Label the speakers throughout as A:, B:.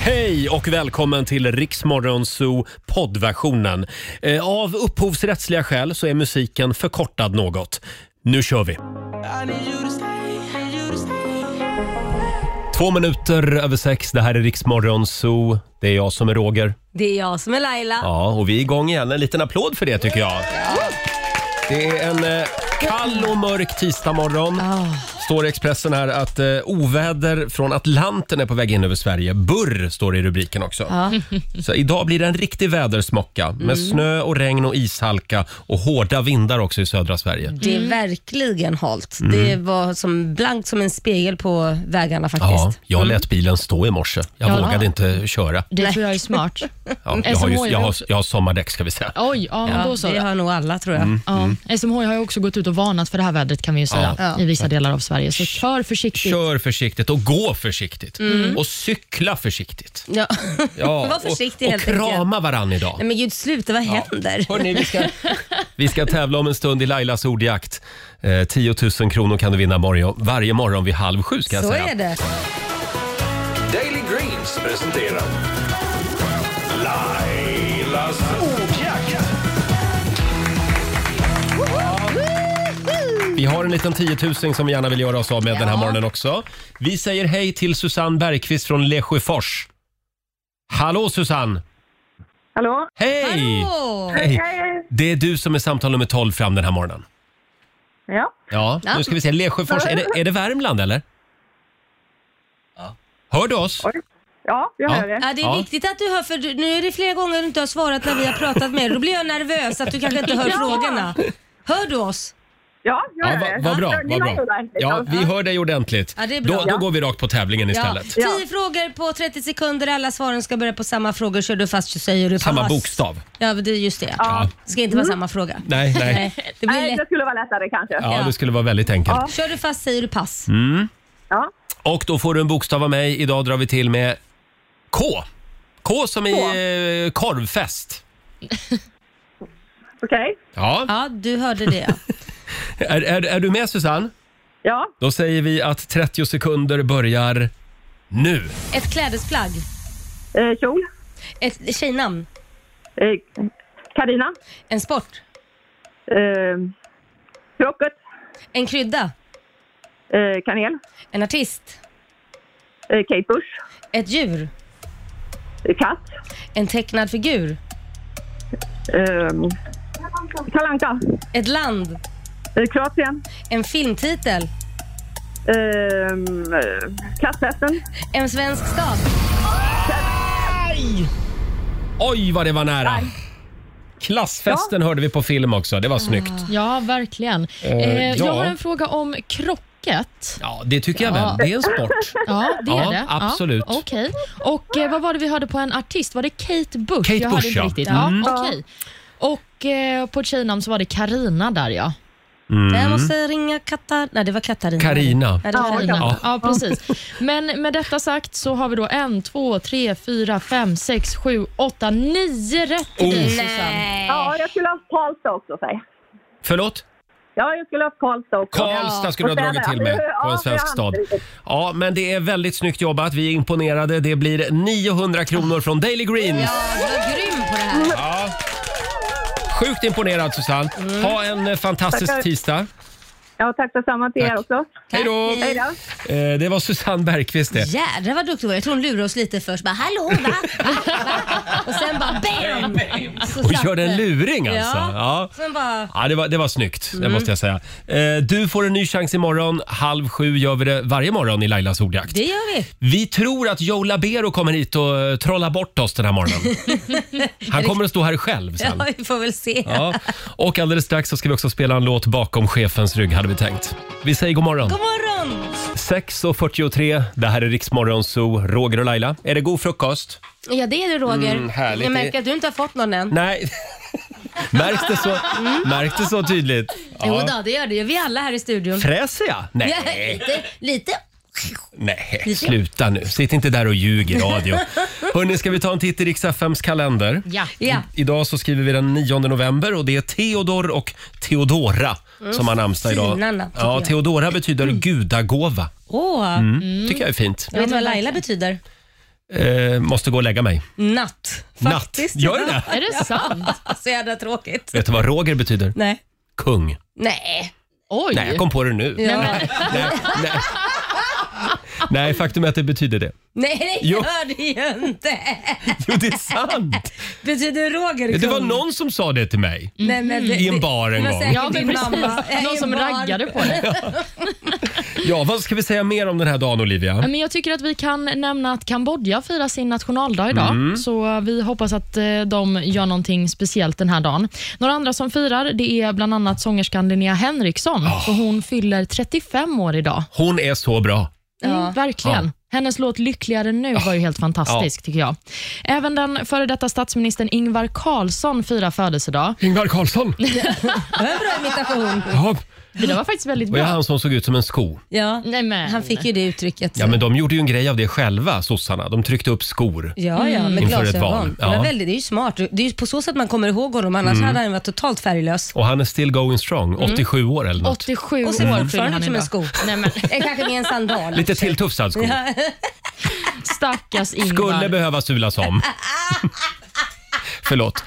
A: Hej och välkommen till Riksmorgonzoo poddversionen. Eh, Av upphovsrättsliga skäl så är musiken förkortad något. Nu kör vi! Två minuter över sex, det här är Riksmorgonzoo. Det är jag som är Roger.
B: Det är jag som är Laila.
A: Ja, och vi är igång igen. En liten applåd för det tycker jag. Det är en eh, kall och mörk tisdagmorgon.
C: Ah.
A: Står i Expressen här att eh, oväder från Atlanten är på väg in över Sverige. Burr står det i rubriken också.
C: Ah.
A: Så idag blir det en riktig vädersmocka med
C: Mm.
A: snö och regn och ishalka och hårda vindar också i södra Sverige.
C: Mm.
B: Det är verkligen halt.
A: Mm.
B: Det var som blankt som en spegel på vägarna
A: Ja,
B: faktiskt.
A: jag lät bilen stå i morse. Jag
C: Mm. Ja. Mm.
A: vågade inte köra.
C: Det tror jag är smart.
A: Ja, jag, har ju,
C: SMHI
A: jag, har,
C: också.
A: jag har sommardäck ska vi säga.
C: Oj, ja, men då så.
B: det har nog alla tror jag.
A: Mm.
C: Ja. Eh, SMH har ju också gått ut och varnat för det här vädret kan vi ju säga
B: Ja.
C: i vissa delar av Sverige. Så kör försiktigt.
A: Kör försiktigt och gå försiktigt
C: Mm.
A: och cykla försiktigt.
B: Ja.
A: Ja,
B: Var försiktig
A: och,
B: helt
A: och
B: enkelt.
A: krama varann idag.
B: Nej, men gud sluta, vad händer?
A: Hörrni, vi, ska, vi ska tävla om en stund i Lailas ordjakt. Eh, 10 000 kronor kan du vinna morgon, varje morgon vid halv sju. Ska jag
B: Så
A: säga.
B: är det.
D: Daily Greens presenterar Lailas ordjakt.
A: Vi har en liten 10 000 som vi gärna vill göra oss av med den här
B: Ja.
A: morgonen också. Vi säger hej till Susanne Bergqvist från Lesjöfors. Hallå Susanne!
E: Hallå?
A: Hej!
B: Hallå!
A: Hej!
E: Hej.
A: Det är du som är samtal nummer 12 fram den här morgonen.
E: Ja.
A: Ja,
B: Ja.
A: nu ska vi se. Lesjöfors, är det, är det Värmland eller? Hör du oss?
E: Ja, jag
A: Ja.
E: hör det.
B: Ja, det är
A: Ja.
B: viktigt att du hör, för du- nu är det flera gånger du inte har svarat när vi har pratat med dig. Då blir jag nervös att du kanske inte hör frågorna. Hör du oss?
E: Ja, jag
A: Ja,
E: hör
A: va-
E: det.
A: vad bra.
E: Ni
A: Vad
E: var ju
A: bra.
E: där,
A: Ja,
E: liksom.
A: vi hör dig ordentligt.
B: Ja, det är bra.
A: Då, då
B: Ja.
A: går vi rakt på tävlingen
B: Ja.
A: istället.
B: Tio
E: Ja.
B: frågor på 30 sekunder. Alla svaren ska börja på samma frågor. Kör du fast så säger du pass.
A: Samma bokstav.
B: Ja, det är just det.
A: Ja.
B: Det ska inte vara samma fråga.
A: Nej, nej.
B: Det blir
E: Nej,
B: lätt.
E: det skulle vara lättare kanske. Ja.
A: Ja, det skulle vara väldigt enkelt.
B: Kör du fast säger du pass.
A: Mm. Och då får du en bokstav av mig. Idag drar vi till med K. K som i eh, korvfest.
E: Okej.
A: Ja.
B: Ja, du hörde det. ja.
A: Är, är, är du med Susanne?
E: Ja.
A: Då säger vi att 30 sekunder börjar nu.
B: Ett klädesplagg.
E: Eh, kjol.
B: Ett tjejnamn.
E: Eh, Carina.
B: En sport.
E: Eh, krocket.
B: En krydda.
E: Eh, kanel.
B: En artist.
E: Eh, Kate Bush.
B: Ett djur.
E: Eh, katt.
B: En tecknad figur.
E: Eh, Kalle Anka.
B: Ett land.
E: Eh, Kroatien.
B: En filmtitel.
E: Eh, eh, Katthästen.
B: En svensk stad.
A: Oj, vad det var nära! Klassfesten hörde vi på film också. Det var
E: Mm.
A: snyggt.
C: Ja, verkligen.
A: ja.
C: Eh, jag har en fråga om krocket.
A: Ja, det tycker jag väl. Det är en sport.
C: Ja, det är
A: Ja,
C: det.
A: absolut.
C: Ja, Okej. Och eh, vad var det vi hörde på en artist? Var det Kate Bush?
A: Kate
C: jag
A: Bush,
C: hörde inte
A: ja. Mm.
C: riktigt. Ja, okej. Och eh, på ett tjejnamn så var det Karina där ja.
B: Jag måste ringa Katar... Nej, det var Katarina.
A: Mm. Karina.
B: Ja, det var Karina.
C: Ja. precis. Men med detta sagt så har vi då en, två, tre, fyra, fem, sex, sju, åtta, nio rätt till dig Susanne.
E: Ja, jag skulle ha Karlstad också, säg.
A: Förlåt?
E: Ja, jag skulle ha Karlstad också.
A: Karlstad skulle du ha
E: Och
A: dragit
E: sen-
A: till med på
E: Ja,
A: en svensk
E: jag
A: stad.
E: hann inte.
A: Ja, men det är väldigt snyggt jobbat. Vi är imponerade. Det blir 900 kronor från Daily Greens.
B: Ja, du var grym på det här.
A: Ja. Sjukt imponerad Susanne. Ha en eh, fantastisk
E: Mm. Tackar.
A: tisdag.
E: Ja, tack detsamma till er också.
A: Hej då!
E: Hej då.
A: Eh, Det var Susanne Bergqvist det.
B: Jädrar vad duktig du var. Jag tror hon lurade oss lite först. Bara hallå va? va? Och sen bara BAM! Så
A: Och
B: satt
A: körde en
B: det.
A: luring alltså.
B: Ja.
A: Ja.
B: Sen bara...
A: Ja, det var, det var snyggt, det måste jag säga. Eh, Du får en ny chans imorgon. Halv sju gör vi det varje morgon i Lailas ordjakt.
B: Det gör vi.
A: Vi tror att Joe Labero kommer hit och eh, trollar bort oss den här morgonen. Han kommer att stå här själv sen.
B: Ja, vi får väl se.
A: Ja. Och alldeles strax så ska vi också spela en låt bakom chefens rygg hade vi tänkt. Vi säger god morgon.
B: God morgon!
A: 6.43, det här är Riksmorgon Zoo, Roger och Laila. Är det god frukost?
B: Ja, det är du Roger.
A: Mm, härligt.
B: Jag märker att du inte har fått någon än.
A: Nej. Märks det så, märks det så tydligt?
B: Jo då, det gör det ju. Vi alla här i studion.
A: Fräser jag?
B: Ja,
A: Nej.
B: lite, lite.
A: Nej, sluta nu. Sitt inte där och ljug i radio. Hörni, ska vi ta en titt i riks FMs kalender?
C: Ja.
B: Ja. Mm.
A: Idag så skriver vi den 9 november och det är Theodor och Theodora som har namnsdag idag.
B: Mm. fina namn, tycker
A: Ja,
B: jag. Mm.
A: Theodora betyder gudagåva.
B: Åh,
A: Mm.
B: Mm.
A: Tycker jag är fint.
B: jag vet vad Laila betyder.
A: eh, måste gå och lägga mig.
B: Natt. Faktiskt.
A: Natt. Gör det det?
C: Är det sant?
B: Så jävla tråkigt.
A: Vet du vad Roger betyder?
B: Nej.
A: Kung.
B: Nej.
C: Oj!
A: Nej, jag kom på det nu.
B: Ja.
A: Nej, nej. nej, faktum är att det betyder det.
B: Nej, det
A: Jo.
B: gör det ju inte.
A: Jo, det är sant!
B: Betyder Roger
A: Det var
B: kung?
A: någon som sa det till mig.
B: Nej, men det,
A: I en
B: det-
A: bar en
B: det var
A: gång.
B: säkert
C: Ja, men
B: din mamma.
A: eh,
C: precis.
B: I
C: Någon
B: en
C: som
B: bar.
C: raggade på det.
A: Ja, vad ska vi säga mer om den här dagen, Olivia?
C: Men jag tycker att vi kan nämna att Kambodja firar sin nationaldag idag,
A: Mm.
C: så vi hoppas att eh, de gör någonting speciellt den här dagen. Några andra som firar det är bland annat sångerskan Linnea Henriksson, för hon fyller 35 år idag.
A: Hon är så bra.
C: Mm, verkligen. Hennes låt Lyckligare nu var ju helt fantastisk, tycker jag. Även den före detta statsministern Ingvar Carlsson firar födelsedag.
A: Ingvar Carlsson!
B: Det var en bra imitation.
A: Ja,
C: Det där var faktiskt väldigt
A: var det
C: bra.
A: han som såg ut som en sko?
B: Ja.
C: Nej, men.
B: Han fick ju det uttrycket.
A: Ja, men de gjorde ju en grej av det själva, sossarna. De tryckte upp skor.
B: Ja, ja, med
A: Mm. Inför ett val,
B: glasögon.
A: ja. Mm.
B: Det, var väldigt, det är ju smart. Det är ju på så sätt man kommer ihåg honom, annars hade han varit totalt färglös.
A: Och han är still going strong,
B: Mm.
A: 87 år eller något.
C: 87
B: Och
C: år
B: ser
C: fyller
B: fortfarande
C: han
B: ut som en
C: idag.
B: sko.
C: Nej, men,
B: Eh, Kanske med en sandal.
A: Lite tilltufsad sko.
C: stackars
A: Skulle
C: Ingvar.
A: behöva sulas om. Förlåt.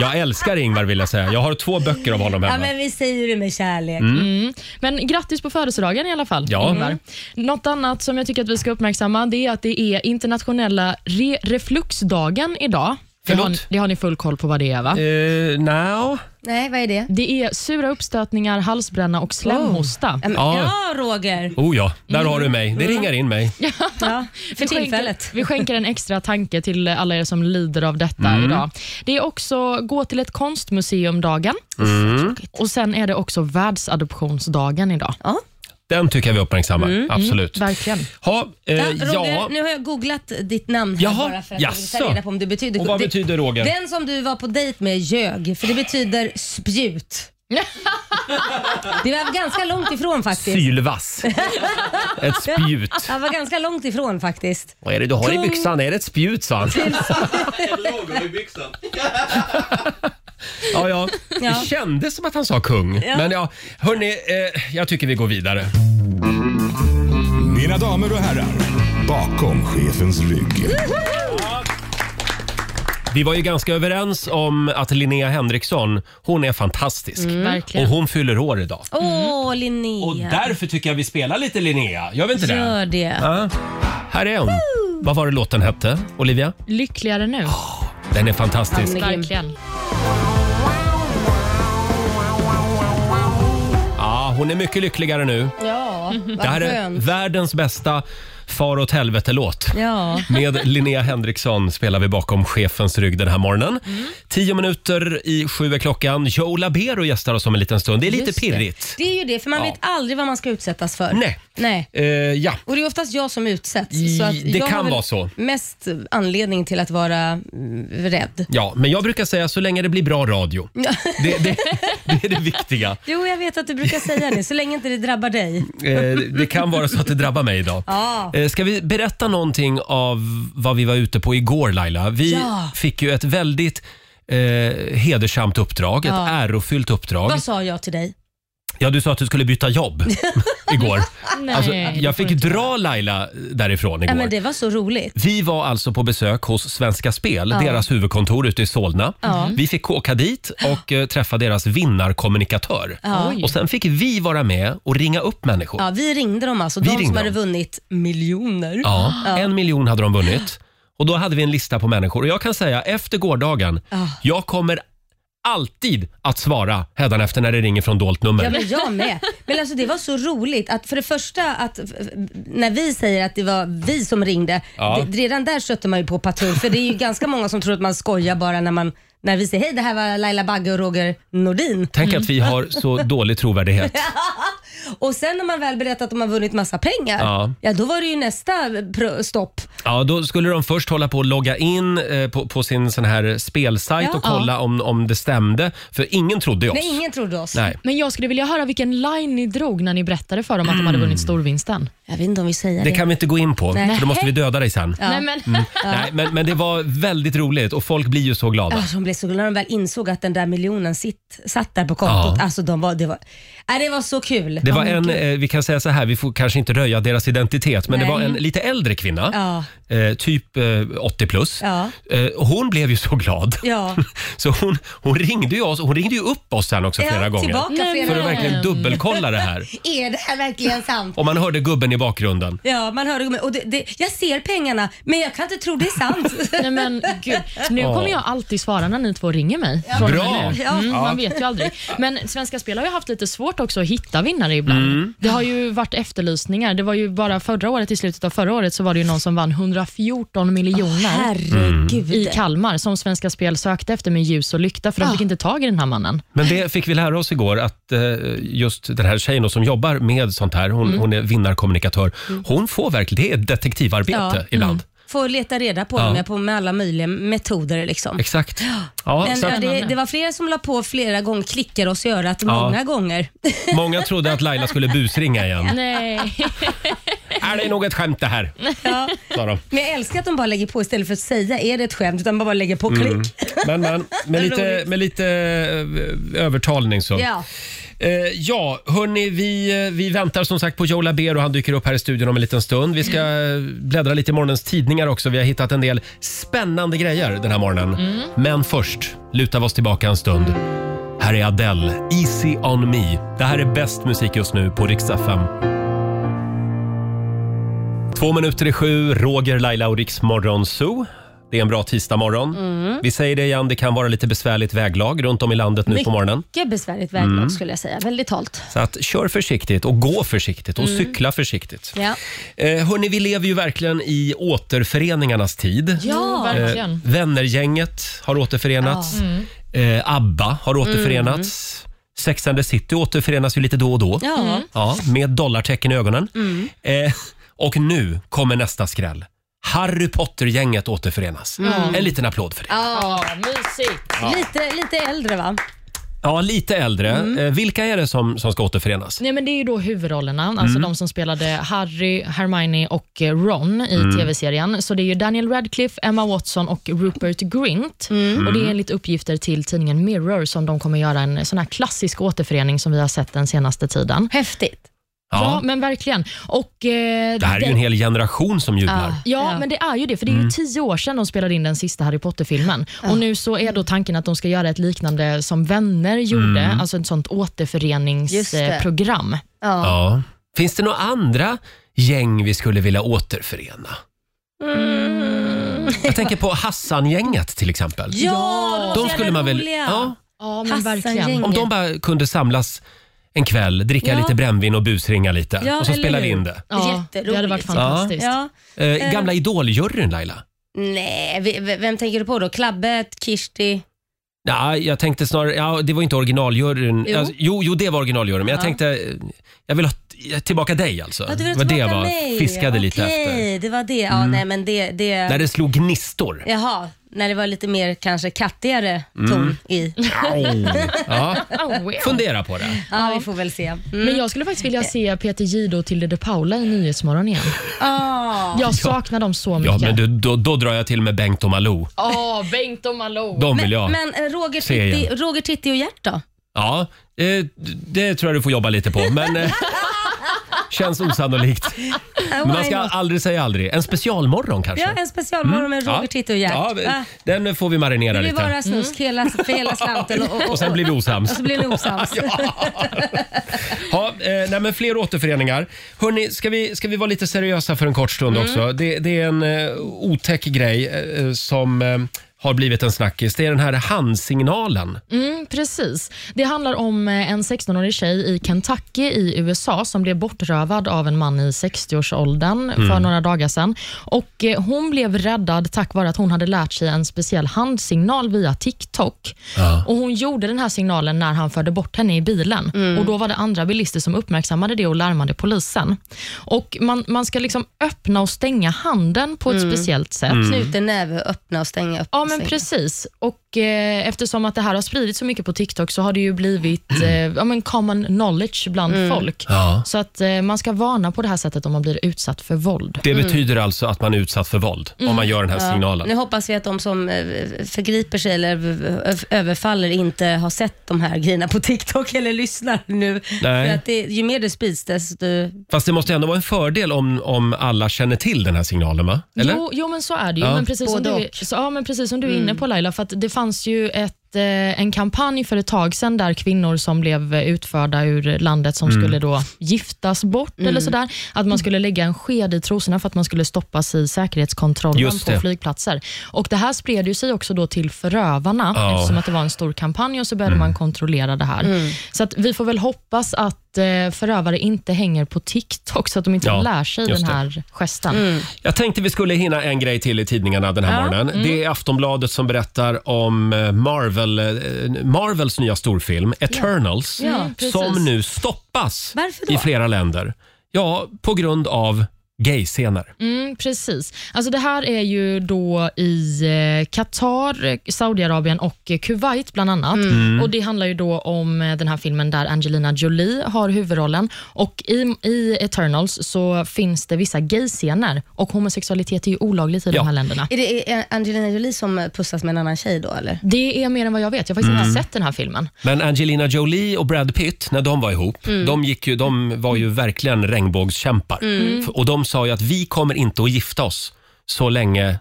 A: Jag älskar Ingvar vill jag säga. Jag har två böcker av honom
B: Ja,
A: hemma.
B: men vi säger det med kärlek.
A: Mm.
C: Men grattis på födelsedagen i alla fall,
A: Ja.
B: Mm.
C: Ingvar. Något annat som jag tycker att vi ska uppmärksamma det är att det är internationella re- refluxdagen idag. Det har,
A: Förlåt?
C: det har ni full koll på vad det är, va?
B: Eh.
A: Uh, now.
B: Nej, vad är det?
C: Det är sura uppstötningar, halsbränna och slemhosta.
B: Ja, men-
A: Ja.
B: Ja, Roger.
A: Oh ja, där har du mig. Det ringar in mig.
B: Mm. Ja, för
C: Vi skänker-
B: tillfället.
A: Eh,
C: Vi skänker en extra tanke till alla er som lider av detta
A: Mm.
C: idag. Det är också gå till ett konstmuseum-dagen.
A: Mm.
C: Och sen är det också världsadoptionsdagen idag.
B: Ja.
A: Den tycker jag vi uppmärksammar. Absolut.
C: Verkligen.
A: Ha, eh,
B: Mm, Ja, Roger,
A: ja.
B: nu har jag googlat ditt namn här
A: Jaha,
B: bara för att jag vill ta
A: jaså.
B: reda på om det betyder...
A: Och vad
B: det-
A: betyder Roger?
B: Den som du var på dejt med ljög, för det betyder spjut. det var ganska långt ifrån faktiskt.
A: Sylvass. Ett spjut.
B: Jag var ganska långt ifrån faktiskt.
A: Vad är det du har i byxan? Är det ett spjut, sa han. Ja, ja.
B: Ja.
A: Det kändes som att han sa kung. Men ja, hörni, eh, jag tycker vi går vidare.
F: Mina damer och herrar, bakom chefens rygg.
A: Vi var ju ganska överens om att Linnea Henriksson, hon är fantastisk.
B: Mm,
C: Verkligen.
A: Och hon fyller år idag.
B: Åh,
A: Mm. Och
B: Linnea.
A: därför tycker jag vi spelar lite Linnea. Gör vi inte det?
B: Gör det.
A: Ja. Här är hon. Vad var det låten hette, Olivia?
C: Lyckligare nu.
A: Den är fantastisk.
B: Anne-
C: Verkligen.
A: Ja, hon är mycket lyckligare nu.
B: Ja, vad
A: Det här är
B: skönt.
A: världens bästa far åt helvete-låt.
B: Ja.
A: Med Linnea Henriksson spelar vi bakom chefens rygg den här morgonen.
B: Mm.
A: Tio minuter i sju är klockan. Joe Labero gästar oss om en liten stund. Det är lite
B: Just det.
A: pirrigt.
B: Det är ju det, för man
A: Ja.
B: vet aldrig vad man ska utsättas för.
A: Nej.
B: Nej.
A: Eh, ja,
B: Och det är oftast jag som utsätts.
A: I-
B: Så att
A: det
B: jag har
A: kan
B: väl
A: vara så.
B: mest anledning till att vara mm, rädd.
A: ja, men jag brukar säga så länge det blir bra radio. Det, det, det är det viktiga.
B: Jo, jag vet att du brukar säga det, så länge inte det drabbar dig.
A: Eh, det kan vara så att det drabbar mig idag.
B: Ja.
A: Eh, Ska vi berätta någonting av vad vi var ute på igår Laila? Vi
B: Ja.
A: fick ju ett väldigt eh, hedersamt uppdrag, ett ärofyllt uppdrag.
B: Vad sa jag till dig?
A: Ja, du sa att du skulle byta jobb igår.
C: Nej,
A: Alltså,
C: det
A: jag
C: får
A: fick
C: du inte.
A: dra Laila därifrån
B: Nej,
A: igår.
B: men det var så roligt.
A: Vi var alltså på besök hos Svenska Spel, deras huvudkontor ute i Solna. Vi fick åka dit och eh, träffa deras vinnarkommunikatör. Och sen fick vi vara med och ringa upp människor.
B: Ja, vi ringde dem alltså,
A: Vi
B: de som
A: ringde
B: hade
A: dem.
B: vunnit miljoner.
A: Ja, en miljon hade de vunnit. Och då hade vi en lista på människor. Och jag kan säga, efter gårdagen, jag kommer alltid att svara hädanefter när det ringer från dolt nummer.
B: Ja, men jag med. Men alltså, det var så roligt att för det första att f- f- när vi säger att det var vi som ringde,
A: Ja.
B: det, redan där stötte man ju på patrull för det är ju ganska många som tror att man skojar bara när, man, när vi säger hej det här var Laila Bagge och Roger Nordin.
A: Tänk att
B: Mm.
A: vi har så dålig trovärdighet.
B: Och sen när man väl berättat att de har vunnit massa pengar,
A: Ja.
B: ja, då var det ju nästa pro- stopp.
A: Ja, då skulle de först hålla på att logga in eh, på, på sin sån här spelsajt
B: Ja.
A: och kolla om, om det stämde. För ingen trodde oss.
B: Nej, ingen trodde oss.
A: Nej.
C: Men jag skulle vilja höra vilken line ni drog när ni berättade för dem att
A: Mm.
C: de hade vunnit storvinsten.
B: Jag vet inte om vi säger det.
A: Det kan vi inte gå in på, för då måste vi döda dig sen.
C: Nej, men,
A: Mm. Nej, men, men det var väldigt roligt och folk blir ju så glada.
B: Alltså, de blev så glada när de väl insåg att den där miljonen sitt, satt där på kontot.
A: Ja.
B: Alltså, de var, det var, Nej, det var så kul.
A: Det var en, eh, vi kan säga så här, vi får kanske inte röja deras identitet, men det var en lite äldre kvinna, eh, typ eh, 80 plus.
B: Ja.
A: Eh, och hon blev ju så glad.
B: Ja.
A: Så hon, hon, ringde ju oss, hon ringde ju upp oss sen också
B: Ja,
A: flera gånger.
B: tillbaka Mm. flera
A: För att
B: gånger.
A: verkligen dubbelkolla det här.
B: Är det här verkligen sant?
A: Och man hörde gubben i bakgrunden.
B: Ja, man hör det. Och det, det, jag ser pengarna, men jag kan inte tro det är sant.
C: Nej, men gud. Nu
A: Ja.
C: kommer jag alltid svara när ni två ringer mig. Från
A: Bra.
C: och med nu. Mm, Man vet ju aldrig. Men Svenska Spel har ju haft lite svårt också att hitta vinnare ibland. Det har ju varit efterlysningar. Det var ju bara förra året, i slutet av förra året, så var det ju någon som vann 114 miljoner
B: Herregud.
C: i Kalmar som Svenska Spel sökte efter med ljus och lykta för de fick inte tag i den här mannen.
A: Men det fick vi lära oss igår att eh, just den här tjejen då som jobbar med sånt här,
B: Mm.
A: hon, hon är vinnarkommunikatör, hon får verkligen, det är ett detektivarbete
B: Ja, mm.
A: ibland.
B: Får leta reda på dem jag på med alla möjliga metoder. Liksom.
A: Exakt. Ja,
B: Men,
A: så
B: ja,
A: att,
B: det, det var flera som la på flera gånger, klickar oss i örat många gånger.
A: många trodde att Laila skulle busringa igen.
C: Nej.
A: Är det något skämt det här? Sa de.
B: Men jag älskar att de bara lägger på istället för att säga är det ett skämt, utan bara lägger på klick.
A: Men, men med, lite, med lite eh, övertalning så.
B: Ja.
A: Eh, ja, hörni, vi, eh, vi väntar som sagt på Joe Labero. Han dyker upp här i studion om en liten stund. Vi ska eh, bläddra lite i morgonens tidningar också. Vi har hittat en del spännande grejer den här morgonen. Men först lutar vi oss tillbaka en stund. Här är Adele, Easy on me. Det här är bäst musik just nu på Rix FM. Två minuter i sju, Roger, Laila och Rix Morgon Zoo. Det är en bra tisdagmorgon. Vi säger det igen, det kan vara lite besvärligt väglag runt om i landet nu på morgonen.
B: Mycket besvärligt väglag skulle jag säga. Väldigt halt.
A: Så att kör försiktigt och gå försiktigt och cykla försiktigt.
B: Ja.
A: Eh, hörni, vi lever ju verkligen i återföreningarnas tid.
C: Ja, verkligen.
A: Eh, Vännergänget har återförenats. Eh, ABBA har återförenats. Sex and the City återförenas ju lite då och då.
B: Ja.
A: Ja, med dollartecken i ögonen. Eh, och nu kommer nästa skräll. Harry Potter-gänget återförenas. En liten applåd för det.
C: Ja, mysigt.
B: Lite, lite äldre va?
A: Ja, lite äldre. Eh, vilka är det som, som ska återförenas?
C: Nej, men det är ju då huvudrollerna,
A: Mm.
C: alltså de som spelade Harry, Hermione och eh, Ron i
A: Mm.
C: tv-serien. Så det är ju Daniel Radcliffe, Emma Watson och Rupert Grint.
A: Mm.
C: Och Det är enligt uppgifter till tidningen Mirror som de kommer göra en sån här klassisk återförening som vi har sett den senaste tiden.
B: Häftigt.
A: Ja.
C: Ja, men verkligen. Och, eh,
A: Det här är ju en hel Mm. generation som jublar.
B: Ja.
C: Ja, men det är ju det. För det är ju tio år sedan de spelade in den sista Harry Potter-filmen. Och nu så är då tanken att de ska göra ett liknande som Vänner gjorde,
A: Mm.
C: alltså ett sånt eh,
B: Just det.
C: återföreningsprogram.
B: Ja.
A: Ja. Finns det några andra gäng vi skulle vilja återförena?
B: Mm.
A: Jag tänker på Hassan-gänget till exempel.
B: Ja,
A: De skulle man väl, ja,
B: Ja.
C: Ja, men verkligen.
B: Hassan-gänget.
A: om de bara kunde samlas en kväll, dricka
B: Ja.
A: lite brännvin och busringa lite
B: Ja,
A: och så
B: eller
A: spelar vi
B: hur?
A: in det.
C: Ja,
B: Jätteroligt.
C: det hade varit fantastiskt.
B: Ja.
A: Eh, gamla Idol-juryn Laila?
B: Nej, v- v- vem tänker du på då? Klabbet, Kirsti?
A: Ja, jag tänkte snarare, ja, det var inte originaljuryn.
B: Jo.
A: Jo, jo, jo det var originaljuryn, men jag
B: Ja.
A: tänkte, eh, jag vill ha t- tillbaka dig alltså.
B: Ja, du vill ha
A: Vad det
B: tillbaka
A: var,
B: mig.
A: fiskade lite
B: Okej,
A: efter. Mm.
B: det var det. Ja, nej men det... det...
A: När det slog gnistor.
B: Jaha, när det var lite mer kanske kattigare
A: Mm.
B: ton i.
A: Au. Ja.
C: Oh, wow.
A: Fundera på det.
B: Ja, vi får väl se. Mm.
C: Men jag skulle faktiskt vilja se Peter Gide och Tilde de Paula i Nyhetsmorgon igen.
B: Ah.
C: Jag saknar dem så
A: Ja,
C: mycket.
A: men du, då, då drar jag till med Bengt och Malou.
C: Åh, Bengt och Malou.
A: De vill jag.
B: Men, men eh, Roger,
A: Se
B: Titti,
A: igen.
B: Roger Titti och Gert då?
A: Ja, eh, det tror jag du får jobba lite på. Men eh, känns osannolikt. Men man ska aldrig säga aldrig. En specialmorgon kanske?
B: Eh, Ja, en specialmorgon med Roger, Titti och Gert.
A: Ja,
B: Ah,
A: den får vi marinera
B: det blir
A: lite.
B: bara snusk hela, för hela slanten och, och,
A: Och sen blir vi
B: och
A: osams.
B: så blir det osams.
A: Ja, eh, nej, men fler återföreningar. Hörrni, ska vi, ska vi vara lite seriösa för en kort stund
B: Mm.
A: också? Det, det är en eh, otäck grej eh, som eh, har blivit en snackis. Det är den här handsignalen.
C: Mm, precis. Det handlar om eh, en 16-årig tjej i Kentucky i USA som blev bortrövad av en man i 60-årsåldern för några dagar sedan. Och eh, hon blev räddad tack vare att hon hade lärt sig en speciell handsignal via TikTok. Och Hon gjorde den här signalen när han förde bort henne i bilen. Och Då var det andra bilister som uppmärksammade det och larmade polisen. Och Man, man ska liksom öppna och stänga handen på ett speciellt sätt.
B: Knuten näve, öppna och stänga upp.
C: Ja, men men
G: säkert.
C: precis. Och eh, eftersom att det här har spridits så mycket på TikTok så har det ju blivit eh, ja, men common knowledge bland folk.
A: Ja.
C: Så att eh, man ska varna på det här sättet om man blir utsatt för våld.
A: Det
B: Mm.
A: betyder alltså att man är utsatt för våld om man gör den här signalen.
B: Nu hoppas vi att de som eh, förgriper sig eller eh, överfaller inte har sett de här grejerna på TikTok eller lyssnar nu.
A: Nej.
B: För att det, ju mer det sprids desto...
A: Fast det måste ändå vara en fördel om, om alla känner till den här signalen, va? Eller?
C: Jo, jo, men så är det ju.
A: Ja.
C: Men precis, som
B: Både
C: du, så, ja, men precis som du är inne på Laila, för att det fanns ju ett, eh, en kampanj för ett tag sedan där kvinnor som blev eh, utförda ur landet
A: Mm.
C: som skulle då giftas bort eller sådär, att man skulle lägga en sked i trosorna för att man skulle stoppas i säkerhetskontrollen
A: Just det.
C: på flygplatser. Och Det här spred ju sig också då till förövarna
A: Ja. Mm.
C: eftersom att det var en stor kampanj och så började man kontrollera det här. Så att vi får väl hoppas att eh, förövare inte hänger på TikTok så att de inte
A: Ja,
C: lär sig
A: just
C: den
A: det.
C: här gesten.
A: Jag tänkte vi skulle hinna en grej till i tidningarna den här morgonen.
B: Mm.
A: Det är Aftonbladet som berättar om eh, Marvel, eh, Marvels nya storfilm Eternals
B: Ja,
A: som
C: precis.
A: nu stoppas
B: Varför då?
A: i flera länder. Ja, på grund av gayscener.
C: Mm, precis. Alltså det här är ju då i eh, Qatar, eh, Saudiarabien och eh, Kuwait bland annat.
A: Mm.
C: Och Det handlar ju då om eh, den här filmen där Angelina Jolie har huvudrollen. Och I, i Eternals så finns det vissa gayscener och homosexualitet är ju olagligt i
A: Ja.
C: de här länderna.
B: Är det eh, Angelina Jolie som pussas med en annan tjej då eller?
C: Det är mer än vad jag vet. Jag har faktiskt
A: Mm.
C: inte sett den här filmen.
A: Men Angelina Jolie och Brad Pitt, när de var ihop,
B: Mm.
A: de, gick ju, de var ju verkligen regnbågskämpar.
B: Mm.
A: F- Och de sa ju att vi kommer inte att gifta oss så länge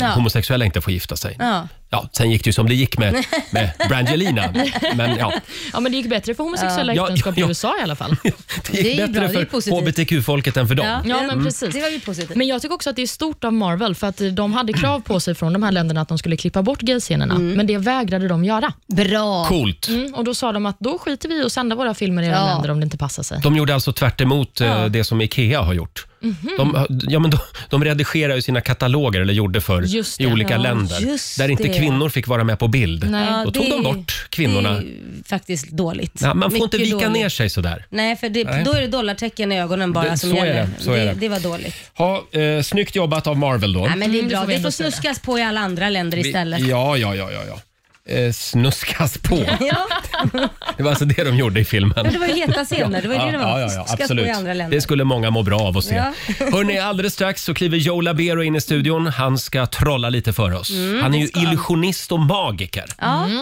A: eh, homosexuella inte får gifta sig.
B: Ja.
A: Ja, sen gick det ju som det gick med, med Brangelina. Men ja,
C: Ja, men det gick bättre för homosexuella
A: Ja.
C: äktenskap
A: Ja, ja.
C: i USA i alla fall.
A: det gick
B: Det är ju bra,
A: bättre
B: det
A: för
B: är positivt.
A: hbtq-folket än för dem.
C: Ja, men precis.
B: Det var ju positivt.
C: Men jag tycker också att det är stort av Marvel, för att eh, de hade krav på sig från de här länderna att de skulle klippa bort gayscenerna,
A: Mm.
C: men det vägrade de göra.
B: Bra.
A: Coolt.
C: Mm, och Då sa de att då skiter vi i att sända våra filmer i era
B: Ja.
C: länder om det inte passar sig.
A: De gjorde alltså tvärt emot eh, det som IKEA har gjort.
B: Mhm.
A: De, ja, men de, de redigerar ju sina kataloger, eller gjorde förr,
C: Just
A: i
C: det.
A: olika
B: Ja,
A: länder.
B: just
A: Där inte
B: det.
A: kvinnor fick vara med på bild.
C: Nej.
B: Ja,
A: Då tog
B: det
A: de
B: är-
A: bort kvinnorna.
B: Det är ju faktiskt dåligt.
A: Ja, man får inte
B: Mycket
A: vika
B: dåligt.
A: ner sig sådär.
B: Nej, för det,
A: Nej.
B: då är det dollartecken i ögonen bara
A: Det-
B: som
A: så är
B: gäller.
A: det, så är det.
B: det. var dåligt.
A: Ha, eh, snyggt jobbat av Marvel då.
B: Nej, men det är
C: Mm, det
B: bra.
C: får vi
B: det
C: ändå
B: får
C: säga.
B: snuskas på i alla andra länder
A: Vi-
B: istället.
A: Ja, ja, ja, ja. ja. Eh, snuskas på.
B: Ja,
A: Det var alltså det de gjorde i filmen.
B: men det var ju heta scener. Det var ju det det var.
A: Ja, ja, ja,
B: Snuskas
A: absolut.
B: på i andra länder.
A: Det skulle många må bra av att se.
B: Ja.
A: Hörrni, alldeles strax så kliver Joe Labero in i studion. Han ska trolla lite för oss.
B: Mm,
A: han är ju illusionist och magiker.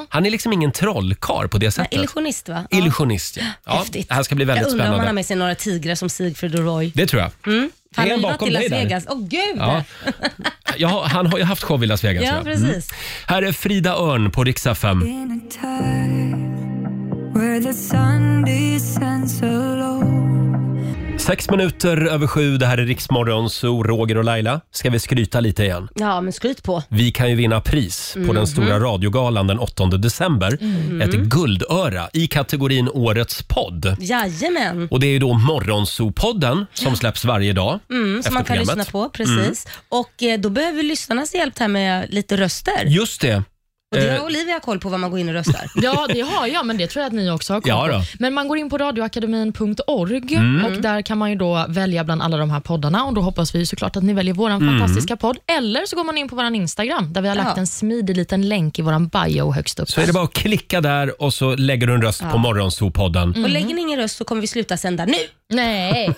A: Han är liksom ingen trollkarl på det sättet.
B: Illusionist va? Ja.
A: Illusionist, ja. ja.
B: Häftigt.
A: Det här ska bli väldigt
B: jag undrar om han
A: spännande.
B: har med sig några tigrar som Sigfrid och Roy.
A: Det tror jag.
B: Han
A: Det är
B: har
A: en
B: ju varit
A: bakom
B: i Las
A: dig där.
B: Vegas. Åh gud!
A: Ja. Mm.
B: Ja,
A: Ja, han har ju haft show i Las Vegas. ja.
B: precis.
A: Här är Frida Örn på Riksdag 5.
H: In a time where the sun descends alone.
A: Sex minuter över sju, det här är Riksmorgon, så Roger och Laila. Ska vi skryta lite igen?
B: Ja, men skryt på.
A: Vi kan ju vinna pris på den stora radiogalan den 8 december. Ett guldöra i kategorin Årets podd.
B: Jajamän.
A: Och det är ju då Morgonzoo-podden som släpps varje dag
B: Mm,
A: efter
B: som man kan
A: programmet. Mm.
B: lyssna på, precis. Och eh, då behöver lyssnarnas hjälp här med lite röster.
A: Just det.
B: Och det
A: Eh.
B: har Olivia koll på vad man går in och röstar.
C: Ja, det har jag, men det tror jag att ni också har koll
A: Ja
C: på.
A: då. Mm.
C: Men man går in på radioakademin.org och där kan man ju då välja bland alla de här poddarna och då hoppas vi ju såklart att ni väljer vår
A: Mm.
C: fantastiska podd. Eller så går man in på vår Instagram där vi har lagt
B: Ja.
C: en smidig liten länk i vår bio högst upp.
A: Så är det bara att klicka där och så lägger du en röst på Morgonzoo-podden.
B: Och lägger ni ingen röst så kommer vi sluta sända nu.
C: Nej.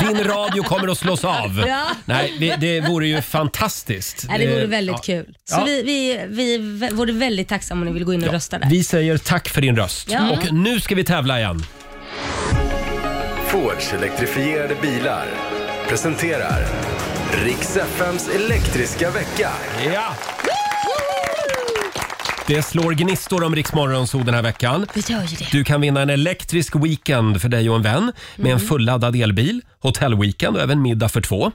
A: Din radio kommer att slås av.
B: Ja.
A: Nej, det, det vore ju fantastiskt.
B: Nej, det vore
A: Eh,
B: väldigt
A: ja.
B: kul. Så
A: Ja.
B: vi, vi, vi v- vore väldigt tacksamma om ni vill gå in och rösta där.
A: Vi säger tack för din röst.
B: Ja.
A: Och nu ska vi tävla igen.
D: Fords elektrifierade bilar presenterar Riks FMs elektriska vecka.
A: Ja! Det slår gnistor om Riksmorgonzoo den här veckan.
B: Vi gör ju det.
A: Du kan vinna en elektrisk weekend för dig och en vän med en
B: Mm.
A: fulladdad elbil, hotellweekend och även middag för två.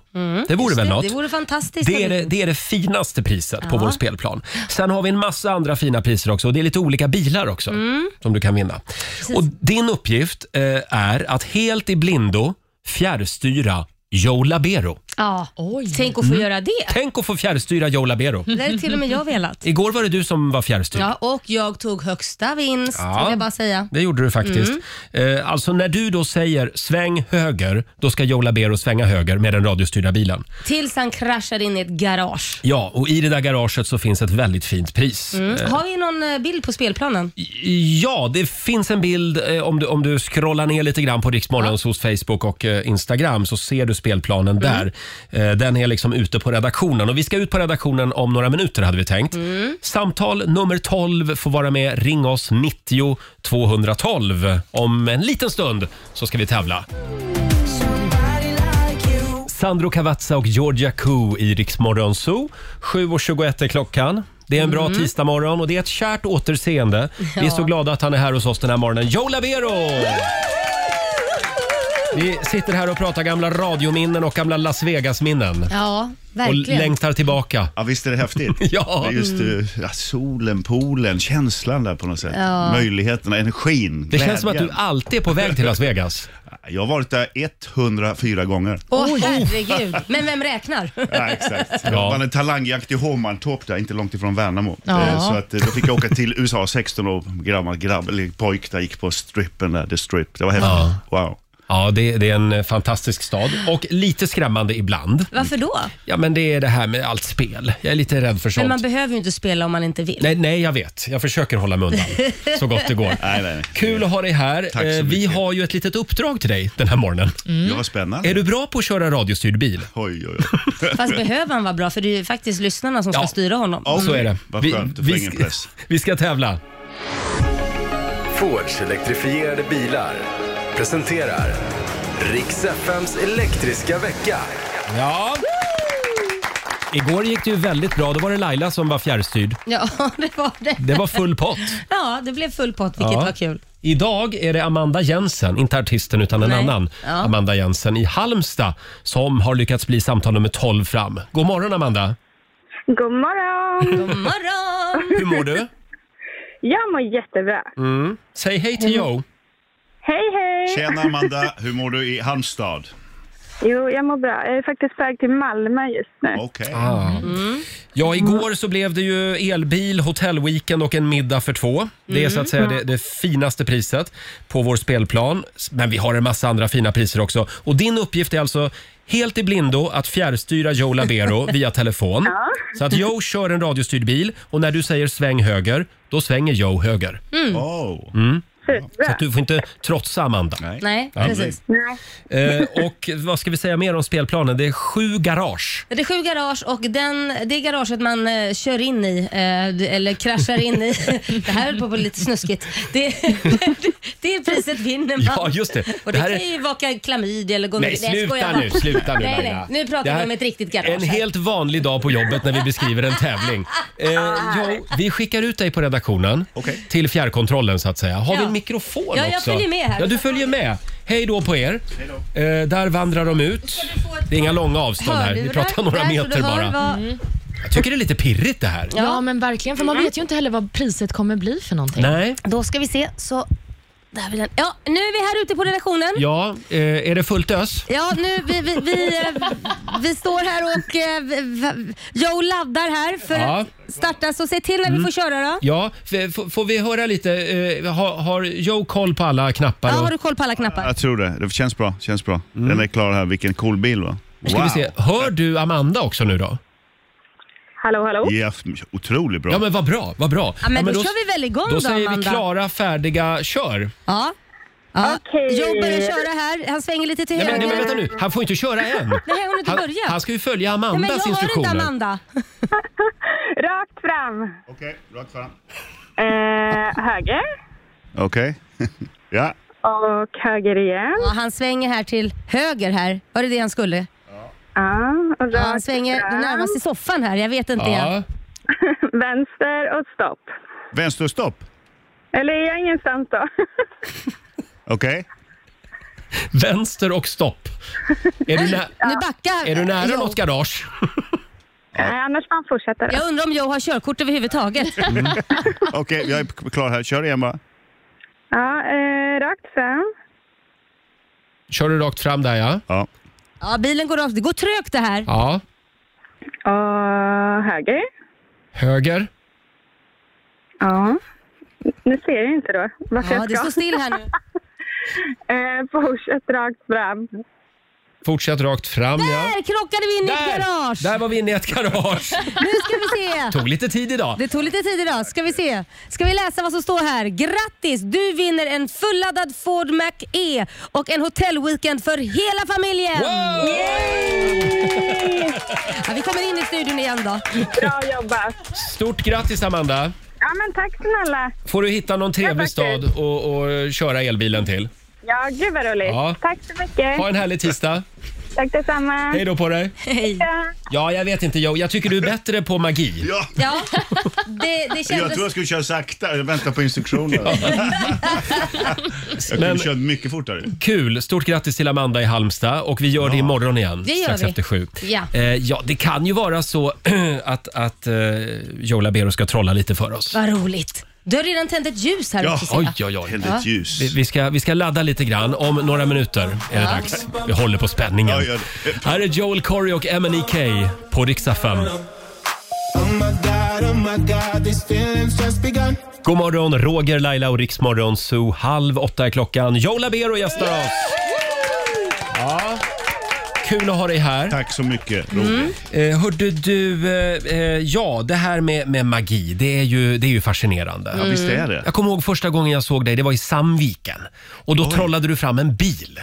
A: Det vore väl
B: Mm. Det,
A: något?
B: det vore fantastiskt.
A: Det är det, det är det finaste priset på vår spelplan. Sen har vi en massa andra fina priser också. Och det är lite olika bilar också
B: Mm.
A: som du kan vinna. Och din uppgift eh, är att helt i blindo fjärrstyra Joe Labero.
B: Ja,
C: Oj.
B: tänk
A: Mm.
B: att få göra det.
A: Tänk att få fjärrstyra Joe Labero.
B: Det hade till och med jag velat.
A: Igår var det du som var fjärrstyrd.
B: Mm. Ja, och jag tog högsta vinst,
A: Ja.
B: vill jag bara säga.
A: Det gjorde du faktiskt.
B: Mm.
A: Eh, alltså när du då säger sväng höger, då ska Joe Labero svänga höger med den radiostyrda bilen.
B: Tills han kraschar in i ett garage.
A: Ja, och i det där garaget så finns ett väldigt fint pris.
B: Mm. Har vi någon eh, bild på spelplanen?
A: Ja, det finns en bild eh, om du, om du scrollar ner lite grann på Riksmorgons hos Facebook och eh, Instagram så ser du spelplanen där. Eh, den är liksom ute på redaktionen och vi ska ut på redaktionen om några minuter hade vi tänkt. Samtal nummer 12 får vara med. Ring oss 90 212. Om en liten stund så ska vi tävla. Sandro Cavazza och Georgia Koo i Riksmorgon Zoo. 7.21 är klockan. Det är en
B: Mm.
A: bra tisdagmorgon och det är ett kärt återseende. Vi är så glada att han är här hos oss den här morgonen. Joe Labero! Vi sitter här och pratar gamla radiominnen och gamla Las Vegas-minnen.
C: Ja,
A: Och
C: verkligen.
A: längtar tillbaka.
G: Ja, visst är det häftigt?
A: Ja.
G: Det är Just eh, ja, solen, poolen, känslan där på något sätt. Möjligheterna, energin,
A: Det känns som att du
G: glädjen.
A: alltid är på väg till Las Vegas.
G: Jag har varit där 104 gånger.
B: Åh herregud, men vem räknar?
G: Ja, exakt.
A: Ja.
G: Jag vann en talangjakt i Hovmantorp där, inte långt ifrån Värnamo.
C: Ja.
G: Eh, Så att, eh, då fick jag åka till USA, 16 år gammal grabb, eller pojk där, gick på strippen där, the strip. Det var häftigt. Wow.
A: Ja, det, det är en eh, fantastisk stad och lite skrämmande ibland.
B: Varför då?
A: Ja, men det är det här med allt spel. Jag är lite rädd för sånt.
B: Men man behöver ju inte spela om man inte vill.
A: Nej, nej, jag vet. Jag försöker hålla mig undan så gott det går.
G: Nej, nej, nej.
A: Kul att ha dig här.
G: Tack så
A: Eh, Vi
G: mycket. Mm.
A: har ju ett litet uppdrag till dig den här morgonen.
G: Ja, vad spännande.
A: Mm. Är du bra på att köra radiostyrd bil?
G: Oj, oj, oj.
B: Fast behöver han vara bra? För det är ju faktiskt lyssnarna som
A: Ja.
B: ska styra honom.
G: Ja.
A: Så är det.
G: Vad skönt, du får
A: vi,
G: ingen
A: ska,
G: press.
A: vi ska tävla.
D: Fords elektrifierade bilar presenterar Riks FMs elektriska vecka.
A: Ja. Igår gick det ju väldigt bra. Då var det Laila som var fjärrstyrd.
B: Ja, det var det.
A: Det var full pott.
B: Ja, det blev full pott, vilket
A: Ja.
B: var kul.
A: Idag är det Amanda Jensen, inte artisten utan en
B: Nej.
A: annan
B: Ja.
A: Amanda Jensen i Halmstad som har lyckats bli samtal nummer 12 fram. God morgon Amanda!
E: God morgon!
B: God morgon!
A: Hur mår du?
E: Jag mår jättebra.
A: Säg hej till Joe.
E: Hej, hej!
G: Tjena Amanda, hur mår du i Halmstad?
E: Jo, jag mår bra. Jag är faktiskt på väg till Malmö just nu.
G: Okej.
A: Ah. Ja, igår så blev det ju elbil, hotellweekend och en middag för två. Det är så att säga det, det finaste priset på vår spelplan. Men vi har en massa andra fina priser också. Och din uppgift är alltså helt i blindo att fjärrstyra Joe Labero via telefon. Så att Joe kör en radiostyrd bil och när du säger sväng höger, då svänger Joe höger.
G: Oh.
A: Så
E: Superbra.
A: att du får inte trotsa Amanda.
B: Nej, precis.
E: Nej.
A: Eh, och vad ska vi säga mer om spelplanen? Det är sju garage.
B: Det är sju garage och den, det garaget man eh, kör in i, eh, eller kraschar in i, det här höll på att bli lite snuskigt. Det, det är priset vinner man.
A: Ja, just det. Det
B: Och det,
A: här är-
B: kan ju vaka klamydia eller gå
A: Nej,
B: med- jag skojar
A: sluta
B: bara.
A: nu, sluta nu
B: Nej, nej.
A: Laila.
B: Nu
A: Det
B: pratar
A: här-
B: vi om ett riktigt garage.
A: En
B: här.
A: helt vanlig dag på jobbet när vi beskriver en tävling. Eh, jo, vi skickar ut dig på redaktionen
G: Okej.
A: till fjärrkontrollen så att säga. Har vi
B: Ja.
A: en mikrofon
B: Ja, jag
A: också?
B: följer med här.
A: Ja, du följer med. Hej då på er. Eh, där vandrar de ut. Det är inga långa avstånd här. Vi
B: Hörlurar
A: pratar några
B: där, så
A: meter
B: du hör
A: bara.
B: vad-
A: Jag tycker det är lite pirrigt det här.
C: Ja, men verkligen. För man vet ju inte heller vad priset kommer bli för någonting.
A: Nej,
B: Då ska vi se. Så, där vill den. Ja, nu är vi här ute på redaktionen.
A: ja, eh, är det fullt ös?
B: Ja, nu, vi, vi, vi, eh, vi står här och eh, v- v- Joe laddar här för
A: Ja. Mm.
B: att starta, så se till när vi får köra då.
A: Ja, f- f- får vi höra lite? Eh, har, har Joe koll på alla knappar?
B: Ja,
A: och-
B: har du koll på alla knappar?
G: Jag tror det. Det känns bra. Känns bra. Den är klar här. Vilken cool bil va?
A: Nu Mm. ska vi se. Hör du Amanda också nu då?
E: Hallå, hallå?
G: Ja, otroligt bra.
A: Ja men vad bra, vad bra.
B: Ja, men då kör vi väl igång
A: Då
B: då,
A: säger vi
B: Amanda.
A: klara, färdiga, kör.
B: Ja. ja.
E: Okej.
B: Joe börjar köra här, han svänger lite till
A: Nej men,
B: höger.
A: nej, men vänta nu, han får inte köra än.
B: Nej, hon har inte
A: Han,
B: börjat.
A: han ska ju följa
B: Nej,
A: Amandas
B: men jag har inte
A: instruktioner.
B: Amanda.
E: Rakt fram.
G: Okej, rakt fram.
E: Eh, höger.
G: Okej. ja.
E: Och höger igen.
B: Ja, han svänger här till höger här. Var det det han skulle?
E: Ja, och
B: Ja,
E: rakt
B: han svänger
E: fram.
B: närmast i soffan här, jag vet inte.
A: Ja.
E: Vänster och stopp.
G: Vänsterstopp.
E: Eller är jag ingenstans då?
G: Okej.
A: Vänster och stopp. Är du, nä-
B: Nu backar
A: är du nära
B: Joe.
A: något garage?
E: Nej, annars får man fortsätta. då.
B: Jag undrar om Joe har körkort överhuvudtaget.
G: Okej, jag är k- klar här. Kör igen bara.
E: Ja, eh, rakt fram.
A: Kör du rakt fram där ja.
G: Ja.
B: Ja, bilen går rakt. Det går trögt det här.
A: Ja.
E: Uh, höger.
A: Höger.
E: Ja. Nu ser jag inte då vart
B: Ja,
E: jag
B: det
E: ska.
B: står still här nu.
E: Eh, fortsätt rakt fram.
A: Fortsätt rakt fram ja.
B: Där krockade vi in i ett garage.
A: Där var vi inne i ett garage.
B: Nu ska vi se.
A: Tog lite tid idag.
B: Det tog lite tid idag. Ska vi se. Ska vi läsa vad som står här? Grattis! Du vinner en fulladdad Ford Mac-E och en hotellweekend för hela familjen.
A: Wow!
B: Ja, vi kommer in i studion igen då.
E: Bra jobbat.
A: Stort grattis Amanda.
E: Ja, men tack snälla.
A: Får du hitta någon trevlig
E: tack.
A: stad och, och köra elbilen till.
E: Ja, gud vad roligt.
A: Ja.
E: Tack så mycket.
A: Ha en härlig tisdag.
E: Tack detsamma.
A: Hej då på dig.
B: Hej.
E: Ja.
A: Ja, jag vet inte. Jag, jag tycker du är bättre på magi.
G: Ja,
B: Ja, det, det
G: jag
B: kändes...
G: tror jag skulle köra sakta. Jag väntar på instruktioner. jag kunde
A: Men-
G: köra mycket fortare.
A: Kul! Stort grattis till Amanda i Halmstad och vi gör det imorgon igen.
B: Det gör
A: strax
B: vi.
A: efter sju.
B: Ja.
A: Eh, ja, det kan ju vara så att, att eh, Joe Labero ska trolla lite för oss.
B: Vad roligt. Du har redan tänt ett ljus här
G: Ja,
B: också. ser
A: Oj,
B: jag.
A: oj, oj.
G: Tänd ett ljus.
A: Vi- Vi ska, vi ska ladda lite grann. Om några minuter är det dags. Vi håller på spänningen.
G: Ja, gör det.
A: Här är Joel Corey och MNEK på riksdag 5. God morgon, Roger, Laila och Riksmorgon Zoo. Halv åtta är klockan. Joe Labero gästar oss. Ja. Kul att ha dig här.
G: Tack så mycket, Roger.
A: Eh, hörde du, eh, eh, ja det här med, med magi, det är ju, det är ju fascinerande.
G: Ja, visst är det.
A: Jag kommer ihåg första gången jag såg dig, det var i Sandviken. Och då trollade du fram en bil.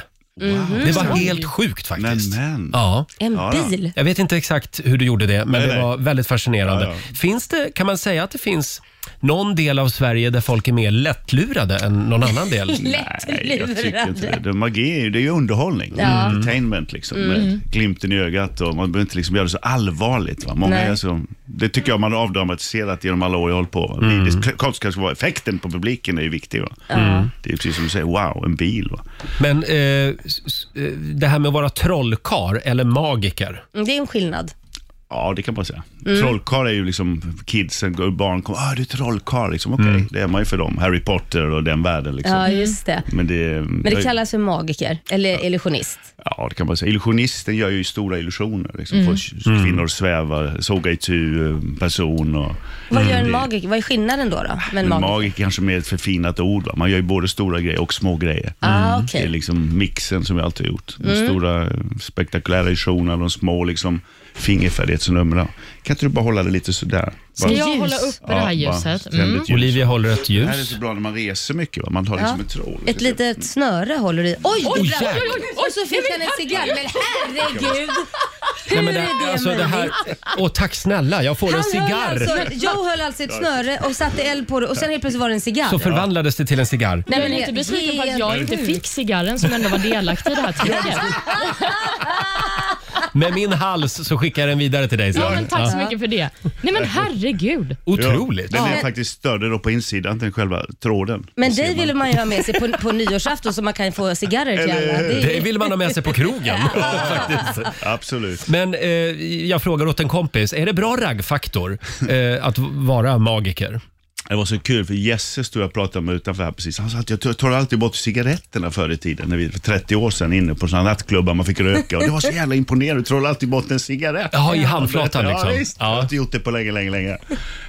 A: Det var helt sjukt faktiskt.
G: Nämen.
A: Ja.
B: En
G: Ja, då.
B: bil.
A: Jag vet inte exakt hur du gjorde det, men
G: Nej,
A: det
G: nej.
A: var väldigt fascinerande.
G: Ja,
A: Finns det, kan man säga att det finns någon del av Sverige där folk är mer lättlurade än någon annan del?
G: Nej, jag tycker inte
B: Lättlurade.
G: det. det. Magi är ju, det är ju underhållning.
B: Ja. Mm.
G: Entertainment liksom. Med glimten i ögat och man behöver inte liksom göra det så allvarligt. Va? Många
B: Nej.
G: är så, det tycker jag man har avdramatiserat genom alla år jag hållit på. Va? Det, det kanske kanske var alltså effekten på publiken är ju viktig. Va?
B: Mm.
G: Det är precis som du säger, wow, en bil. Va?
A: Men eh, s- s- eh, det här med att vara trollkar eller magiker.
B: Mm, Det är en skillnad.
G: Ja, det kan man säga.
B: Mm.
G: Trollkarl är ju liksom kidsen, går- barn kommer, ah, du är trollkarl. Liksom. Okej, det är man ju för dem. Harry Potter och den världen. Liksom.
B: Ja, just det.
G: Men det,
B: Men det kallas för magiker eller illusionist.
G: Ja, det kan man säga. Illusionisten gör ju stora illusioner. Liksom.
B: Mm.
G: Får kvinnor att sväva, såga itu eh, person. Och, Mm.
B: Vad gör en
G: Det-
B: magiker? Vad är skillnaden då? då? Med en
G: en
B: magiker?
G: magiker kanske mer ett förfinat ord. Va? Man gör ju både stora grejer och små grejer.
B: Ah,
G: Det är
B: okej. Mm.
G: liksom mixen som jag alltid har gjort. De stora eh, spektakulära illusionerna, de små liksom, fingerfärdighetsnumren. Kan inte du bara hålla det lite sådär?
C: Ska
G: Bara-
C: jag
B: Ljus.
C: hålla uppe det här
G: bara
C: ljuset?
G: tänd ett
C: Mm.
G: ljus.
A: Olivia håller ett
G: Det här är
A: ljus.
G: så bra när man reser mycket. Va? Man tar det som en tråd.
B: Ett
G: Mm.
B: litet snöre håller du i. Oj!
A: Oj,
B: Oj,
A: jäklar.
B: och så fick han en cigarr. Men herregud!
A: Nej,
B: Hur
A: men
B: är det
A: alltså, det här,
B: möjligt?
A: Åh, tack snälla, jag får en
B: Han
A: cigarr.
B: höll alltså, Joe höll alltså ett snöre och satte eld på det och sen helt plötsligt var det en cigarr.
A: Så förvandlades det till en cigarr.
C: Nej,
B: men
C: men är
B: det-
C: inte besviken på att jag
B: helt
C: inte
B: sjukt.
C: fick cigarren som ändå var delaktig i det här tricket.
A: Med min hals så skickar jag den vidare till dig sen.
C: Ja, men tack så mycket för det. Nej men herregud.
A: Otroligt.
G: Den är faktiskt större då på insidan än själva tråden.
B: Men
G: Det ser
B: dig
G: man.
B: ville man ju ha med sig på, på nyårsafton så man kan få cigarrer till
G: Eller
B: alla.
G: hur?
B: Det
A: Det
B: är,
A: vill man ha med sig på krogen. faktiskt.
G: Absolut.
A: Men eh, jag frågar åt en kompis, är det bra raggfaktor eh, att v- vara magiker?
G: Det var så kul för Jesse stod jag och pratade med utanför här precis. Han sa att jag tar alltid bort cigaretterna förr i tiden, när vi, för 30 år sedan inne på sådana nattklubbar man fick röka. Och det var så jävla imponerande, du trollar alltid bort en cigarett.
A: Jaha, i handflatan
G: ja,
A: liksom.
G: Visst.
A: Ja.
G: Jag har inte gjort det på länge, länge, länge.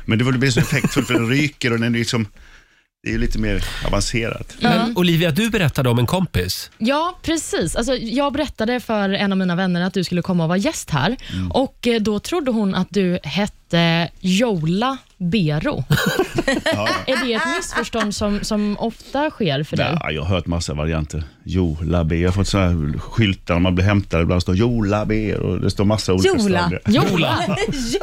G: Men det var- det blir så effektfullt för den ryker och den är liksom, det är ju lite mer avancerat.
A: Men Olivia, du berättade om en kompis.
C: Ja, precis. Alltså, jag berättade för en av mina vänner att du skulle komma och vara gäst här. Och eh, Då trodde hon att du hette Jola Bero. Är det ett missförstånd som, som ofta sker för dig?
G: Ja, jag har hört massa varianter. Jo, labe. Jag har fått sådana här skyltar när man blir hämtad. Ibland står Jo, labe och det står massa olika
B: Jola.
G: stavningar.
C: Jola?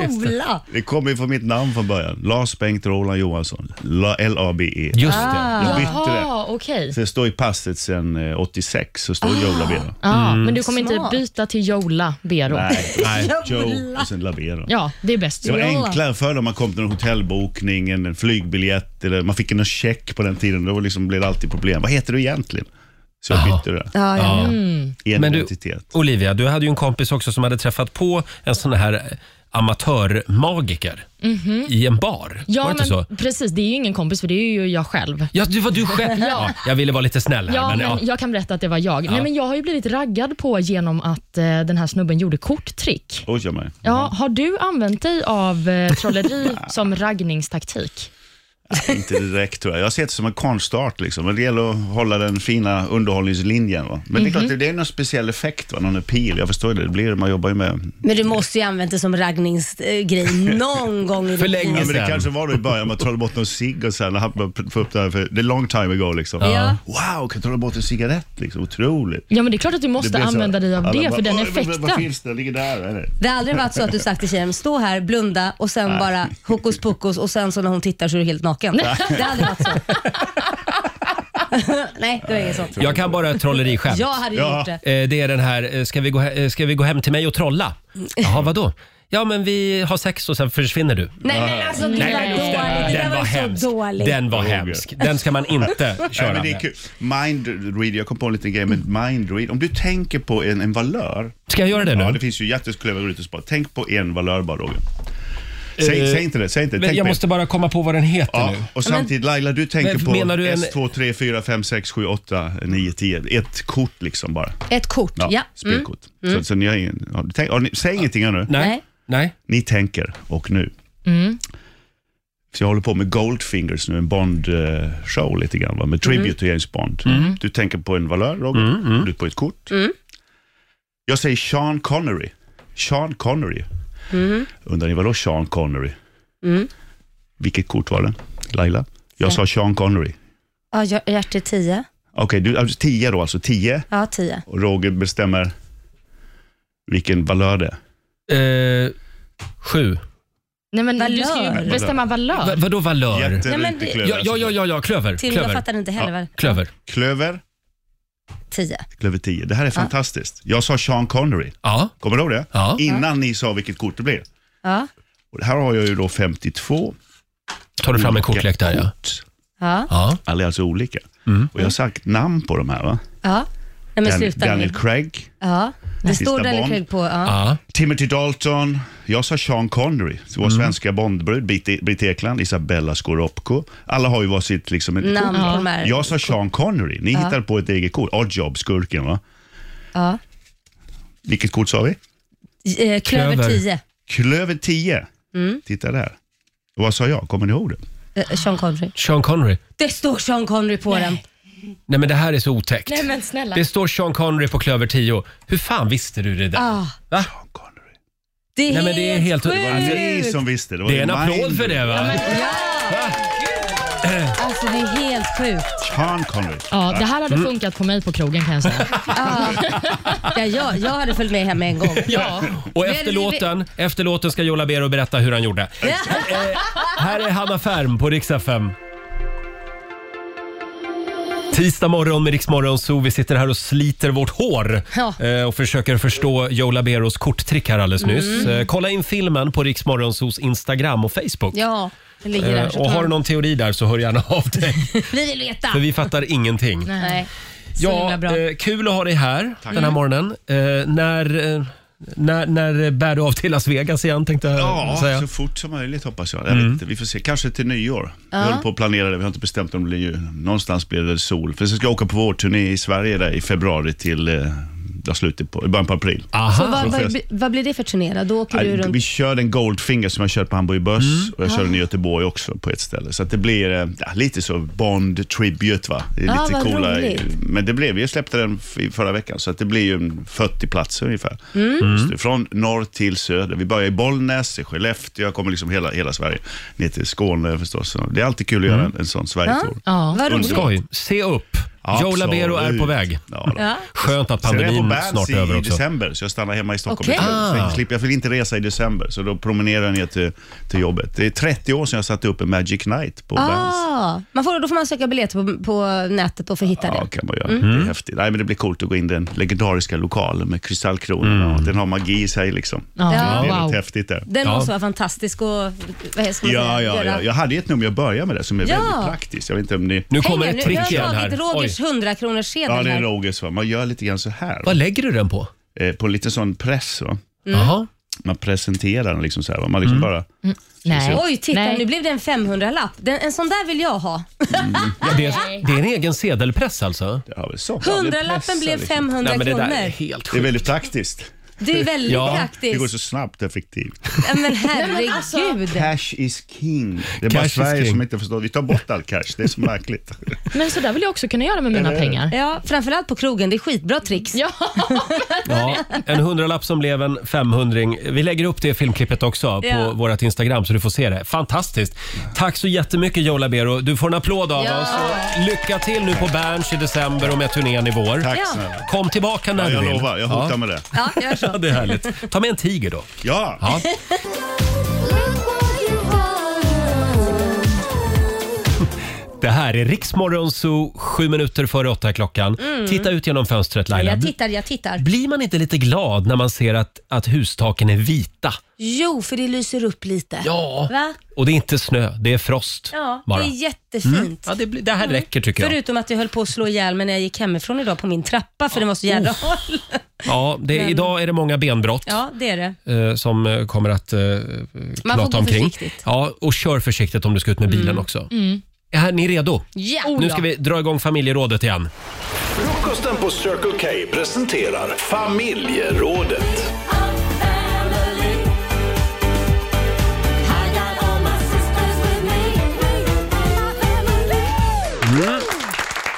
B: Jola!
G: Det kommer ju från mitt namn från början. Lars Bengt Roland Johansson. La- L-A-B-E.
A: Just
C: Ah.
A: det.
G: E. Jag bytte det.
C: Jaha, okej.
G: Så det står i passet sedan eh, 86, så står
C: Ah.
G: Joe Labero.
C: Ja, Men du kommer
B: Smart.
C: inte byta till Jola Bero?
G: Nej,
A: Nej.
G: Joe och sen Labero.
C: Ja, det är bäst
G: Det var
C: så.
G: enklare förr när man kom till en hotellbokning, en en flygbiljett, eller man fick en check på den tiden. Då var liksom, blev det alltid problem. Vad heter du egentligen? Så jag bytte det.
I: Ja, ja.
C: Mm.
A: Men du,
G: Identitet.
A: Olivia, du hade ju en kompis också som hade träffat på en sån här amatörmagiker i en bar.
C: Mhm. Ja,
A: Var det inte
C: men
A: så?
C: precis. Det är ju ingen kompis, för det är ju jag själv.
A: Ja, det var du själv. ja. jag ville vara lite snäll här.
C: Ja,
A: men,
C: men
A: ja.
C: Jag kan berätta att det var jag. Nej, men jag har ju blivit raggad på genom att eh, den här snubben gjorde korttrick.
G: Oj, jag med.
C: Ja, Har du använt dig av eh, trolleri som raggningstaktik?
G: Inte direkt tror jag. Jag ser det som en konstart. Liksom. Men det gäller att hålla den fina underhållningslinjen. Va? Men det är klart, det-
C: Mhm.
G: det är någon speciell effekt va? någon pil. Jag förstår det. Det blir det. Man jobbar ju med...
B: Men du måste ju använda det som raggningsgrej någon gång i
A: För
B: ditt
A: länge
B: liv.
G: Ja, men det
A: Sen.
G: kanske var det i början. Man trollade bort någon cigg och sen hade få upp det här. För, det är long time ago liksom.
B: Ja.
G: Wow, kan jag trolla bort en cigarett? Liksom. Otroligt.
C: Ja, men det är klart att du
G: Det
C: måste
G: blir så-
C: använda dig av
G: alla
C: det,
G: bara,
C: för den
G: "Oj, vad- Vad
C: effekten.
G: finns det? Ligger där? Eller?
B: Det har aldrig varit så att du sagt till tjejen, stå här, blunda och sen bara hokus pokus och sen så när hon tittar så är du helt naken. Det har aldrig varit så. Nej, det var inget sånt.
A: jag kan bara ett trolleriskämt.
B: Jag hade ju
G: Ja.
B: gjort det.
A: Eh, Det är den här, eh, ska vi, gå, he- eh, ska vi gå hem till mig och trolla?
C: Mm.
A: Jaha, vadå? Ja, men vi har sex och sen försvinner du.
B: Nej men alltså det var
C: Nej,
B: dåligt. Det
A: den
B: var,
A: var
B: så
A: hemsk.
B: dåligt.
A: Den var
G: Roger.
A: hemsk. Den ska man inte
G: Nej,
A: köra
G: men det är
A: med.
G: kul. Mind read, jag kom på en liten grej med mind read. Om du tänker på en, en valör.
A: Ska jag göra det
G: Ja,
A: nu?
G: det finns ju jättesklöva ute Tänk på en valör bara Roger. Säg, säg inte det, säg inte det.
A: Eh, Men
G: Tänk
A: jag
G: på en.
A: måste bara komma på vad den heter
G: Ja,
A: nu.
G: och samtidigt Laila, du tänker
A: Men
G: på
A: menar du en-
G: 1, 2, 3, 4, 5, 6, 7, 8, 9, 10. Ett kort liksom bara.
B: Ett kort, ja. Mm.
G: Spelkort. Så, så ni har ingen... Har, tänk, har ni, säg ingenting här nu.
A: Nej.
B: Nej.
A: Nej.
G: Ni tänker, och nu.
B: Mm.
G: Så jag håller på med Goldfingers nu, en Bond-show lite grann, va?
B: Mm.
G: med tribute till James Bond. Du tänker på en valör, Roger,
A: Mm,
G: du på ett kort.
B: Mm.
G: Jag säger Sean Connery. Sean Connery.
B: Mm.
G: Undrar ni vadå Sean Connery? Vilket kort var det, Laila? Jag sa Sean Connery.
B: Ja, hjär- hjärt är 10.
G: Okej, du alltså, tio då alltså, tio.
B: Ja, 10.
G: Och Roger bestämmer vilken valör det är.
A: Eh, sju.
C: Nej, men du ska
B: Valör.
C: ju bestämma
A: Va,
C: valör.
A: vadå valör?
G: Jätte-
B: Nej, men
G: lite
B: det-
G: klöver,
A: Ja, ja, ja,
G: alltså.
A: ja, ja. klöver.
B: Tilda
A: Klöver.
B: fattade inte heller vad
A: Klöver.
G: Klöver,
B: 10.
G: klöver 10. Det här är fantastiskt. Jag sa Sean Connery.
A: Ja.
G: Kommer du ihåg det?
A: Ja.
G: Innan ni sa vilket kort det blev.
B: Ja.
G: Och här har jag ju då 52.
A: Tar du fram en
G: olika
A: kortlek där ja.
G: kort.
B: Ja.
A: Ja.
G: Alla är alltså olika. Och jag har sagt namn på de här va?
B: Ja. Nej Mm. men
G: Dan-
B: sluta
G: Daniel
B: nu.
G: Craig,
B: Ja. Det står
G: Sista
B: Daniel
G: barn.
B: Craig på. Ja.
A: ja.
G: Timothy Dalton. Jag sa Sean Connery. Vår
B: Mm.
G: svenska Bondbrud, Britt- Britt Ekland, Isabella Scorupco. Alla har ju var sitt liksom... ett
B: Namn på de här.
G: Jag sa Sean Connery. Ni hittar på ett eget kort. Oddjob, skurken va?
B: Ja.
G: Vilket kort sa vi?
A: Klöver.
B: Eh, Klöver 10.
G: Klöver 10. Titta där. Och vad sa jag? Kommer ni ihåg det?
B: Eh, Sean Connery.
A: Sean Connery.
B: Det står Sean Connery på den.
A: Nej men det här är så otäckt.
C: Nej, men snälla.
A: Det står Sean Connery på klöver 10. Hur fan visste du det där?
B: Ah,
A: Va?
G: Sean Connery.
B: det är
A: Nej, men det är helt- Alltså,
B: sjukt.
A: det var
G: Det var ni som visste. Det, var
A: Det är en
G: ju
A: applåd
G: mind-
A: för det va?
B: Alltså det är helt sjukt.
G: Sean Connery.
C: Ja, det här hade funkat på mig på krogen kan jag säga.
B: Ja. Ja, jag, jag hade följt med hem en gång.
C: Ja.
A: Och
B: Men
A: efter
B: vi-
A: låten, efter låten ska Joe Labero berätta hur han gjorde. Eh, Här är Hanna Färm på Rix FM. Tisdag morgon med Rix Morgon Zoo. Vi sitter här och sliter vårt hår
B: Ja.
A: eh, och försöker förstå Joe Laberos korttrick här alldeles nyss. Eh, kolla in filmen på Rix Morgon Zoos Instagram och Facebook.
B: Ja, det ligger där.
A: Eh,
B: så
A: och
B: tar-
A: har du någon teori där så hör gärna av dig,
B: Vi vill veta.
A: för vi fattar ingenting.
B: Nej. Så
A: Ja,
B: himla bra.
A: eh, kul att ha dig här den här morgonen. Eh, när, eh, när, när bär du av till Las Vegas igen tänkte jag Mm.
G: Ja,
A: säga.
G: så fort som möjligt hoppas jag. jag vet inte, vi får se. Kanske till nyår. Vi håller på att planera det. Vi har inte bestämt om det blir ju. Någonstans blir det sol. För sen ska jag åka på vårturné i Sverige där i februari till eh, där slutet på, i början på april.
B: Så
A: Aha.
B: vad, vad,
G: fest.
B: vad blir det för turné då? Då åker
G: Nej,
B: du runt... Mm.
G: Vi kör den Goldfinger som jag kört på Hamburg Börs och jag kör den i Göteborg också på ett ställe. Så att det blir eh, ja, lite så Bond Tribute va. Det är
B: Ah,
G: lite
B: vad
G: coola.
B: roligt.
G: Men det blev, vi släppte den f- i förra veckan så att det blir ju en 40 platser ungefär.
B: Mm.
G: Så det är från norr till söder. Vi börjar i Bollnäs, i Skellefteå, jag kommer liksom hela, hela Sverige. Ner till Skåne förstås. Så Det är alltid kul att
B: Mm.
G: göra en, en sån Sverigetour.
C: Ja.
B: Vad roligt.
A: Skoj. Se upp. Joe
G: Absolut.
A: Labero är på väg.
G: Ja, då.
B: Ja.
A: Skönt att
G: Sen är jag på
A: pandemin
G: Berns
A: snart
G: i
A: är över också.
G: december, så jag stannar hemma i Stockholm.
B: Okej.
G: istället. Så
A: Ah.
G: jag, slipper, jag vill inte resa i december, så då promenerar jag ner till, till jobbet. Det är 30 år sedan jag satte upp en Magic Night på Berns.
B: Ah, man får, då får man söka biljetter på, på nätet då för att hitta
G: Ja,
B: det.
G: kan man göra.
B: Mm.
G: Det är häftigt. Nej, men det blir coolt att gå in i den legendariska lokalen med kristallkronorna. Den har magi i sig. Liksom.
B: Ah,
C: Ja,
G: Det är
C: wow.
G: rätt häftigt där.
B: Den
A: Ja.
B: måste vara fantastisk och vad ska man säga,
G: Ja, ja,
B: göra.
G: ja. Jag hade ju ett nummer jag började med det som är
B: Ja.
G: väldigt praktiskt. Jag vet inte om ni...
A: Nu
B: Häng
A: kommer
B: här,
A: ett
B: nu- nu
A: trick
B: har
A: igen
B: jag
A: här.
B: tagit Rogers Rogers 100 kronors sedel
G: Ja, det är
B: här.
G: Rogers. Va? Man gör lite grann så här. Va?
A: Vad lägger du den på?
G: Eh, På lite sån press. Va?
B: Mm.
A: Jaha.
G: Man presenterar den liksom så här. Va? Man liksom bara...
C: Nej.
B: Oj, titta
C: Nej.
B: nu blev det en 500-lapp. Den, en sån där vill jag ha.
A: Ja, det, är, det är en egen sedelpress alltså?
G: Ja, väl så. Ja, det pressar
B: Hundralappen blev
G: liksom.
B: 500
A: det
B: kronor.
A: där är helt
G: Det är
A: sjukt.
G: väldigt praktiskt.
B: Det är väldigt
A: Ja,
G: Det
B: praktiskt.
G: går så alltså, snabbt och effektivt.
B: Nej, Men herregud.
G: Cash is king. Det är
A: Cash
G: bara
A: is
G: Sverige
A: king.
G: som inte förstår. Vi tar bort all cash. Det är så märkligt.
C: Men så där vill jag också kunna göra med mina pengar.
B: Ja, framförallt på krogen. Det är skitbra tricks.
C: Ja,
A: Ja, en hundralapp som blev en 500 Vi lägger upp det filmklippet också på
B: Ja.
A: vårt Instagram så du får se det. Fantastiskt! Tack så jättemycket Joe Labero. Du får en applåd av
B: Ja.
A: oss. Och Lycka till nu på Berns i december och med turnén i vår.
G: Tack
B: Ja.
G: snälla.
A: Kom tillbaka när
G: Ja, jag
A: du vill.
G: lovar. Jag hotar med det.
B: Ja, gör så.
A: Ja, det är härligt. Ta med en tiger då.
G: Ja!
A: Ja. Det här är Riksmorgon Zoo, sju minuter före åtta är klockan. Titta ut genom fönstret Laila.
B: Mm. Jag tittar, jag tittar.
A: Blir man inte lite glad när man ser att, att hustaken är vita?
B: Jo, för det lyser upp lite.
A: Ja.
B: Va?
A: Och det är inte snö, det är frost
B: Ja,
A: bara. Mm.
B: det är jättefint.
A: Ja, det, blir- det här räcker tycker jag.
B: Förutom att jag höll på att slå ihjäl mig när jag gick hemifrån idag på min trappa för den var så jävla hal.
A: Ja, det, Idag är det många benbrott
B: Ja, det är det.
A: eh, som eh, kommer att eh,
B: får gå
A: knata omkring.
B: försiktigt. Mm.
A: Ja, och kör försiktigt om du ska ut med bilen också. Är här, ni redo?
B: Ja.
A: Nu ska vi dra igång familjerådet igen.
D: Frukosten på Circle K presenterar familjerådet.
B: Mm.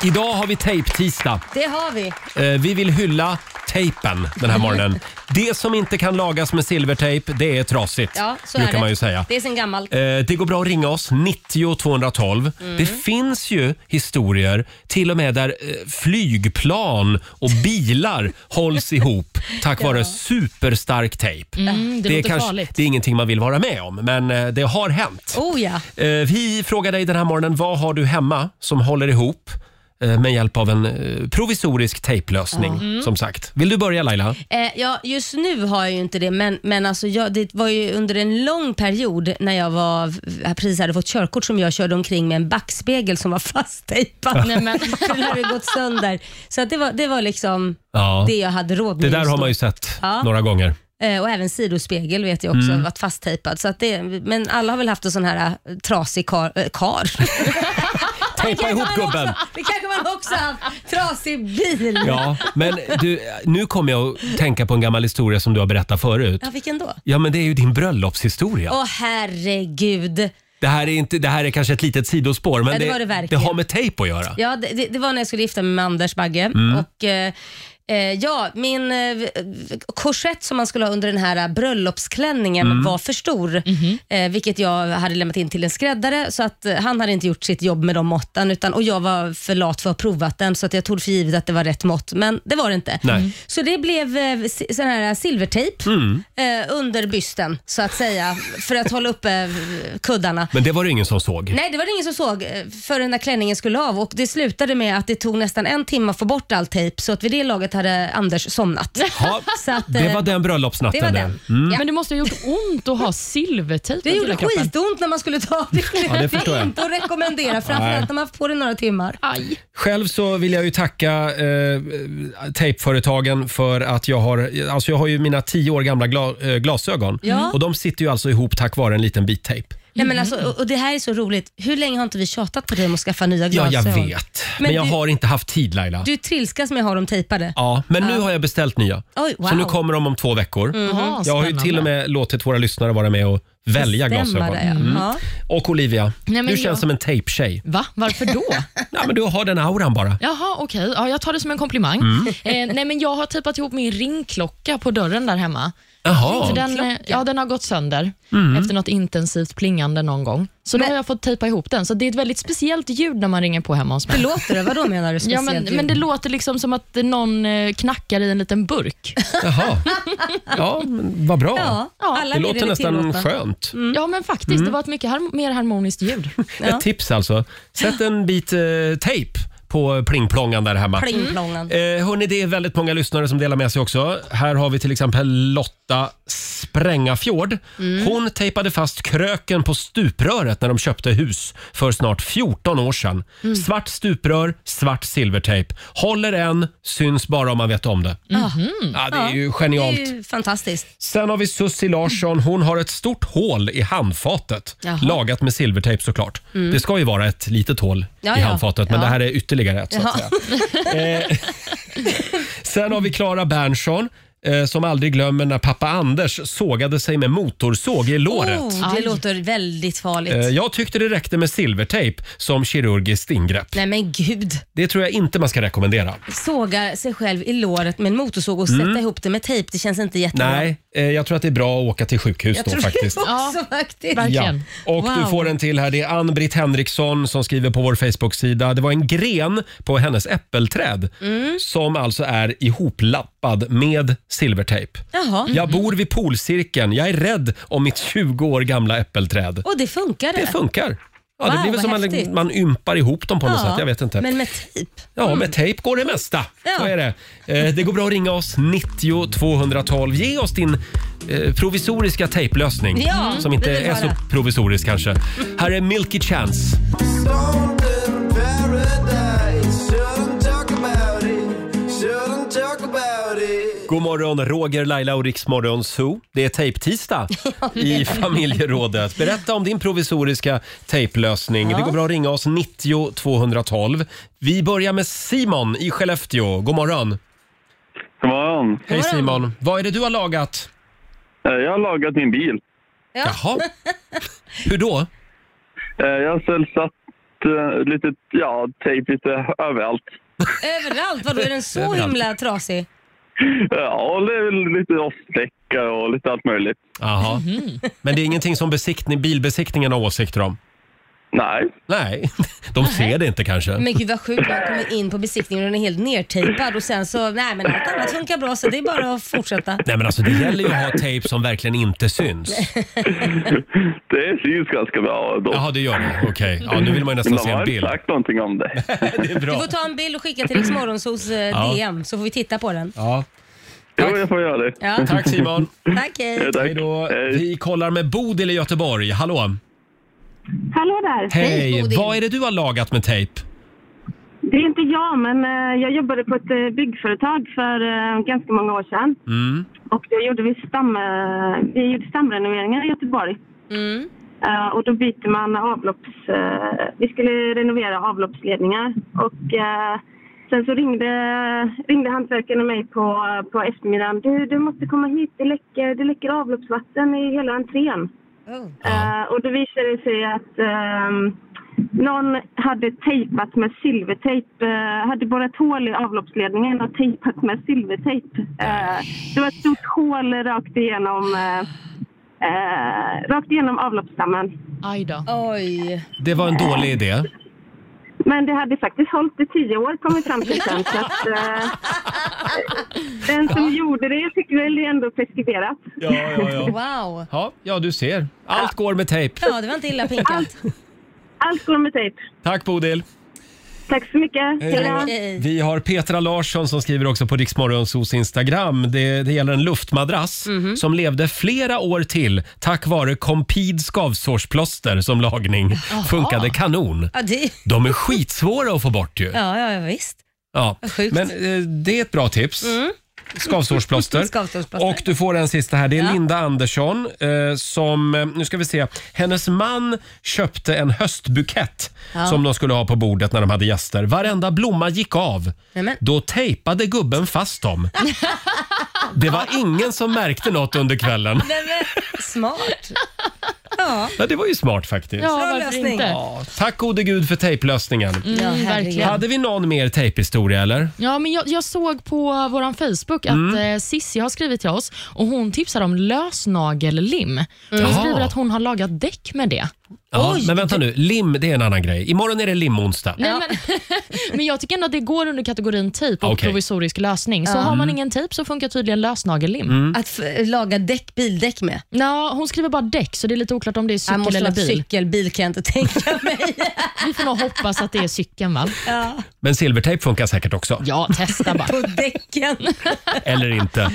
A: Idag har vi tejptisdag.
B: Det har vi.
A: Eh, vi vill hylla tejpen den här morgonen. det som inte kan lagas med silvertejp, det är trasigt.
B: Ja, så
A: brukar
B: är det.
A: man ju säga.
B: Det är sen gammalt.
A: Eh, Det går bra att ringa oss, 90 212.
C: Mm.
A: Det finns ju historier, till och med där eh, flygplan och bilar hålls ihop tack vare superstark tejp.
C: mm, det,
A: är
C: låter
A: kanske-
C: farligt.
A: det är ingenting man vill vara med om, men eh, det har hänt.
B: Oh ja.
A: Eh, Vi frågar dig den här morgonen, vad har du hemma som håller ihop eh, med hjälp av en eh, provisorisk tejplösning?
C: Mm.
A: Som sagt. Vill du börja Laila?
B: Eh, ja, just nu har jag ju inte det, men, men alltså jag, det var ju under en lång period när jag var, jag precis hade fått körkort som jag körde omkring med en backspegel som var fasttejpad.
C: Nej, men,
B: För den hade gått sönder. Så att det, var, det var liksom
A: Ja.
B: det jag hade råd med.
A: Det där
B: just
A: har
B: då.
A: man ju sett
B: Ja.
A: några gånger.
B: Eh, Och även sidospegel vet jag också
A: Mm.
B: varit fasttejpad. Så att det, men alla har väl haft en sån här eh, trasig kar. eh, kar.
A: Tejpa ihop gubben!
B: Det kanske man också har haft. Trasig bil.
A: Ja, men du, nu kommer jag att tänka på en gammal historia som du har berättat förut.
B: Ja, vilken då?
A: Ja, men det är ju din bröllopshistoria.
B: Åh herregud.
A: Det här är, inte, det här är kanske ett litet sidospår, men
B: Ja, det
A: det,
B: var det
A: det,
B: verkligen.
A: har med tejp att göra.
B: Ja, det, det, det var när jag skulle gifta mig med Anders Bagge. Och, eh, eh, ja, min eh, korsett som man skulle ha under den här eh, bröllopsklänningen var för stor, eh, vilket jag hade lämnat in till en skräddare. Så att eh, han hade inte gjort sitt jobb med de måtten utan, och jag var för lat för att ha provat den så att jag tog för givet att det var rätt mått, men det var det inte.
A: Nej.
B: Så det blev eh, si- sån här silvertejp eh, under bysten så att säga, för att hålla uppe eh, kuddarna.
A: Men det var det ingen som såg.
B: Nej, det var det ingen som såg eh, förrän när klänningen skulle av och det slutade med att det tog nästan en timme att få bort all tejp så att vid det laget hade Anders somnat.
A: Ja,
B: Så att, eh,
A: det var den
B: det
A: bröllopsnatten.
B: var
A: där. Mm.
B: den. Ja.
C: men det måste ha gjort ont att ha silvertejp
B: Det
C: runt
B: gjorde
C: hela kroppen.
B: skitont när man skulle ta av det.
A: Ja, det förstår jag.
B: inte att rekommendera, framförallt när man har haft på det några timmar.
C: Aj.
A: Själv så vill jag ju tacka eh, tejpföretagen för att jag har, alltså jag har ju mina tio år gamla gla, eh, glasögon.
B: Ja.
A: Och de sitter ju alltså ihop tack vare en liten bit tejp.
B: Nej, men alltså, och, och det här är så roligt. Hur länge har inte vi tjatat på dig om att skaffa nya
A: Ja, jag
B: glasögon?
A: vet. Men,
B: Men
A: jag
B: du-
A: har inte haft tid Laila.
B: Du trilskas med att ha dem tejpade.
A: Ja, men nu har jag beställt nya.
B: Oj, wow.
A: Så nu kommer de om två veckor.
B: Mm-hmm.
C: Jaha,
A: Jag har ju
C: Mm. spännande.
A: till och med låtit våra lyssnare vara med och välja
B: Bestämma
A: glasögon. Mm.
B: det, ja. Ja.
A: Och Olivia,
C: Nej, men
A: du känns
C: jag-
A: som en tejptjej.
C: Va? Varför då?
A: Ja, men du har den auran bara.
C: Jaha, okej. Ja, jag tar det som en komplimang.
B: Mm.
C: Eh, nej, men jag har tejpat ihop min ringklocka på dörren där hemma. Så
A: Jaha.
C: den, eh, ja, den har gått sönder
B: Mm.
C: efter något intensivt plingande någon gång. Så då har jag fått tejpa ihop den. Så det är ett väldigt speciellt ljud när man ringer på hemma hos mig.
B: Låter det? Vadå menar du?
C: Ja,
B: Speciellt
C: men,
B: ljud?
C: men det låter liksom som att någon eh, knackar i en liten burk.
A: Jaha. Ja, men vad bra.
B: ja, alla
A: Det
B: blir
A: låter
B: väl
A: nästan
B: tillåtna.
A: skönt.
B: Mm.
C: Ja, men faktiskt. Det var ett mycket har mer harmoniskt ljud.
I: Alltså,
A: Ett tips alltså. Sätt en bit eh, tejp
I: på plingplongan där hemma.
B: Plingplongan.
I: Eh, hörni, det är väldigt många lyssnare som delar med sig också. Här har vi till exempel Lotta Sprängafjord. Hon tejpade fast kröken på stupröret när de köpte hus för snart 14 år sedan. Svart stuprör, svart silvertejp. Håller än, syns bara om man vet om det. Ja, det är ju
B: Det
I: genialt.
B: är ju fantastiskt.
I: Sen har vi Sussi Larsson. Hon har ett stort hål i handfatet.
B: Jaha. Mm.
I: Lagat med silvertejp såklart. Det ska ju vara ett litet hål
B: Ja,
I: i
B: ja.
I: handfatet, men
B: Ja.
I: det här är ytterligare ett. Så att säga. Eh, sen har vi Klara Berntsson. eh, Som aldrig glömmer när pappa Anders sågade sig med motorsåg i låret.
B: Oh, det
C: Aj.
B: låter väldigt farligt.
I: Eh, Jag tyckte det räckte med silvertejp som kirurgiskt ingrepp.
B: Nej men gud.
I: Det tror jag inte man ska rekommendera.
B: Sågar sig själv i låret med en motorsåg och sätta ihop det med tejp. Det känns inte jättebra.
I: Mm. Nej, eh, jag tror att det är bra att åka till sjukhus
B: jag
I: då
B: tror
I: faktiskt.
B: det också
C: Ja.
B: faktiskt.
I: Ja.
C: Verkligen.
I: Och du
B: Wow.
I: får en till här. Det är Ann-Britt Henriksson som skriver på vår Facebook-sida. Det var en gren på hennes äppelträd
B: Mm.
I: som alltså är ihoplappad med silvertejp.
B: Jaha,
I: Jag bor vid polcirkeln. Jag är rädd om mitt 20 år gamla äppelträd.
B: och det funkar
I: Det funkar. Ja, det
B: Wow,
I: blir väl
B: vad
I: som man,
B: häftigt.
I: man ympar ihop dem på något sätt. Jag vet inte.
B: Men med tejp.
I: Ja, med tejp går det mesta. Så
B: Mm. Ja.
I: är det. Eh, det går bra att ringa oss, 90 212. Ge oss din eh, provisoriska tejplösning.
B: Ja,
I: som inte
B: det vill
I: är så
B: höra.
I: provisorisk kanske. Här är Milky Chance. God morgon, Roger, Laila och Riksmorgon Zoo. Det är tejptisdag i familjerådet. Berätta om din provisoriska tejplösning. Det går bra att ringa oss 90 212. Vi börjar med Simon i Skellefteå. God morgon.
G: God morgon.
I: Hej
B: morgon.
I: Simon. Vad är det du har lagat?
G: Eh, Jag har lagat min bil.
B: Ja.
I: Jaha. Hur då?
G: Eh, Jag har själv satt eh, lite ja, tejp lite överallt.
B: Överallt, vadå är den så
I: Överallt.
B: himla trasig?
G: Eh, Ja, och det är väl lite rostfläckar och lite allt möjligt.
I: Jaha. Men det är ingenting som besiktning, bilbesiktningen har åsikter om?
G: Nej.
I: Nej, Mm. de ser det inte kanske.
B: Men gud vad sjukt, man kommer in på besiktningen och den är helt nertejpad och sen så, nej men allt annat funkar bra så det är bara att fortsätta.
I: Nej men alltså det gäller ju att ha tejp som verkligen inte syns.
G: Det syns ganska bra ändå.
I: Jaha, det gör det. Okej. Ja, nu vill man ju nästan se
G: De har
I: en
G: inte
I: bild.
G: sagt någonting om det.
I: Det är
B: Du
I: bra.
B: får ta en bild och skicka till Rix Morgonzos eh,
I: Ja.
B: DM så får vi titta på den.
I: Ja.
G: Jo, jag får göra det.
B: Ja.
I: Tack Simon.
B: Tack, hej.
G: Eh, Tack.
I: Hej då.
G: Hej.
I: Vi kollar med Bodil i Göteborg. Hallå.
E: Hallå där!
I: Hej.
B: Bodil.
I: Vad är det du har lagat med tejp?
E: Det är inte jag, men eh, jag jobbade på ett eh, byggföretag för eh, ganska många år sedan. Och då gjorde vi, stam, eh, vi gjorde stamrenoveringar i Göteborg.
B: Mm.
E: Eh, och då byter man avlopps... Eh, vi skulle renovera avloppsledningar. Och eh, sen så ringde, ringde hantverkaren mig på, på eftermiddagen. Du, du måste komma hit. Det läcker, det läcker avloppsvatten i hela entrén.
B: Oh.
I: Ja.
E: Eh, och då visade det sig att ehm, någon hade tejpat med silvertejp, eh, hade borrat hål i avloppsledningen och tejpat med silvertejp. Eh, det var ett stort hål rakt igenom, eh, eh, rakt igenom avloppsstammen.
C: Aj då.
B: Oj.
I: Det var en dålig idé.
E: Men det hade faktiskt hållit i tio år kom vi fram till sen. Så att, eh, den som gjorde det fick väl ändå preskriberat.
I: Ja, ja, ja.
B: Wow.
I: Ja, ja du ser. Allt går med tejp.
B: Ja, det var inte illa pinkat.
E: Allt går med tejp.
I: Tack Bodil.
E: Tack så mycket.
I: Hej då.
E: Hej då.
B: Hej.
I: Vi har Petra Larsson som skriver också på Riksmorgonsos Instagram. Det, det gäller en luftmadrass
B: Mhm.
I: som levde flera år till tack vare Compid skavsårsplåster som lagning. Funkade kanon.
B: Ja, det,
I: De är skitsvåra att få bort ju.
B: ja, ja, ja visst.
I: Ja.
B: sjukt. Mm.
I: Men eh, det är ett bra tips. Skavsårsplåster.
B: Skavsårsplåster.
I: Och du får en sista här. Det är Linda Andersson eh, som, eh, nu ska vi se, hennes man köpte en höstbukett som de skulle ha på bordet när de hade gäster. Varenda blomma gick av.
B: Nämen.
I: Då tejpade gubben fast dem. Det var ingen som märkte något under kvällen.
B: Nej, men, smart.
I: Ja, det var ju smart faktiskt.
C: Ja,
I: Ja.
B: Bra
C: varför
B: lösning.
C: inte?
I: Tack gode gud för tejplösningen.
B: Ja,
C: Mm,
B: herregud.
C: verkligen.
I: Hade vi någon mer tejphistoria eller?
C: Ja, men jag, jag såg på vår Facebook att
I: Mm.
C: eh, Sissi har skrivit till oss och hon tipsar om lösnagellim. Hon
I: Jaha.
C: skriver att hon har lagat däck med det.
I: Ja,
C: Oj,
I: men vänta nu, lim det är en annan grej. Imorgon är det limonsdag.
C: Nej, men, men jag tycker ändå att det går under kategorin tejp och
I: Okej. Mm.
C: provisorisk lösning. Så har man ingen tejp så funkar tydligen lösnagellim.
B: Att f- laga däck, bildäck med.
C: Nå, hon skriver bara däck, så det är lite oklart om det är
B: Jag
C: cykel
B: måste
C: eller
B: vara
C: bil.
B: cykelbil kan jag inte tänka mig.
C: Vi får nog hoppas att det är cykeln. Va?
I: Men silvertejp funkar säkert också.
C: Ja, testa bara.
B: På däcken.
I: Eller inte.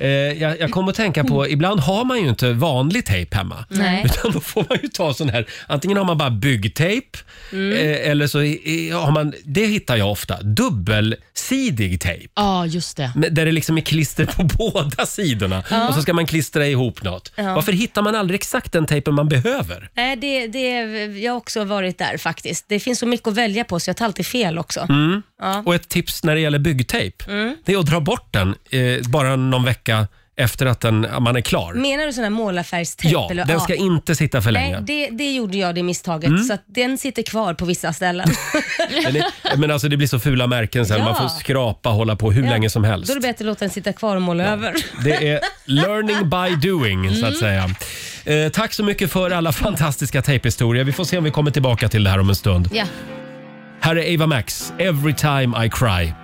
I: Eh, jag, jag kom att tänka på, ibland har man ju inte vanlig tejp hemma.
B: Nej.
I: Utan då får man ju ta sån här, antingen har man bara byggtejp
B: Mm.
I: eh, eller så i- i- har man, det hittar jag ofta, dubbelsidig tejp.
C: Ja, just det.
I: Men Där det liksom är klister på båda sidorna och så ska man klistra ihop något. Varför hittar man aldrig exakt den tejpen man behöver?
B: Nej, det, det, jag har också varit där faktiskt. Det finns så mycket att välja på så jag tar alltid fel också.
I: Mm. Och ett tips när det gäller byggtejp,
B: Mm.
I: det är att dra bort den eh, bara någon vecka efter att den, man är klar.
B: Menar du sån här målarfärgstejp?
I: Ja,
B: eller?
I: den ska Mm. inte sitta för
B: Nej,
I: länge.
B: det, det gjorde jag det misstaget, så att den sitter kvar på vissa ställen.
I: Men, det- men alltså det blir så fula märken sen.
B: Ja.
I: Man får skrapa och hålla på hur länge som helst.
B: Då är det bättre att låta den sitta kvar och måla över.
I: Det är learning by doing, så att
B: Mm.
I: säga. Eh, tack så mycket för alla fantastiska tejphistorier. Vi får se om vi kommer tillbaka till det här om en stund.
B: Ja.
I: Här är Ava Max, Every time I cry.
J: I,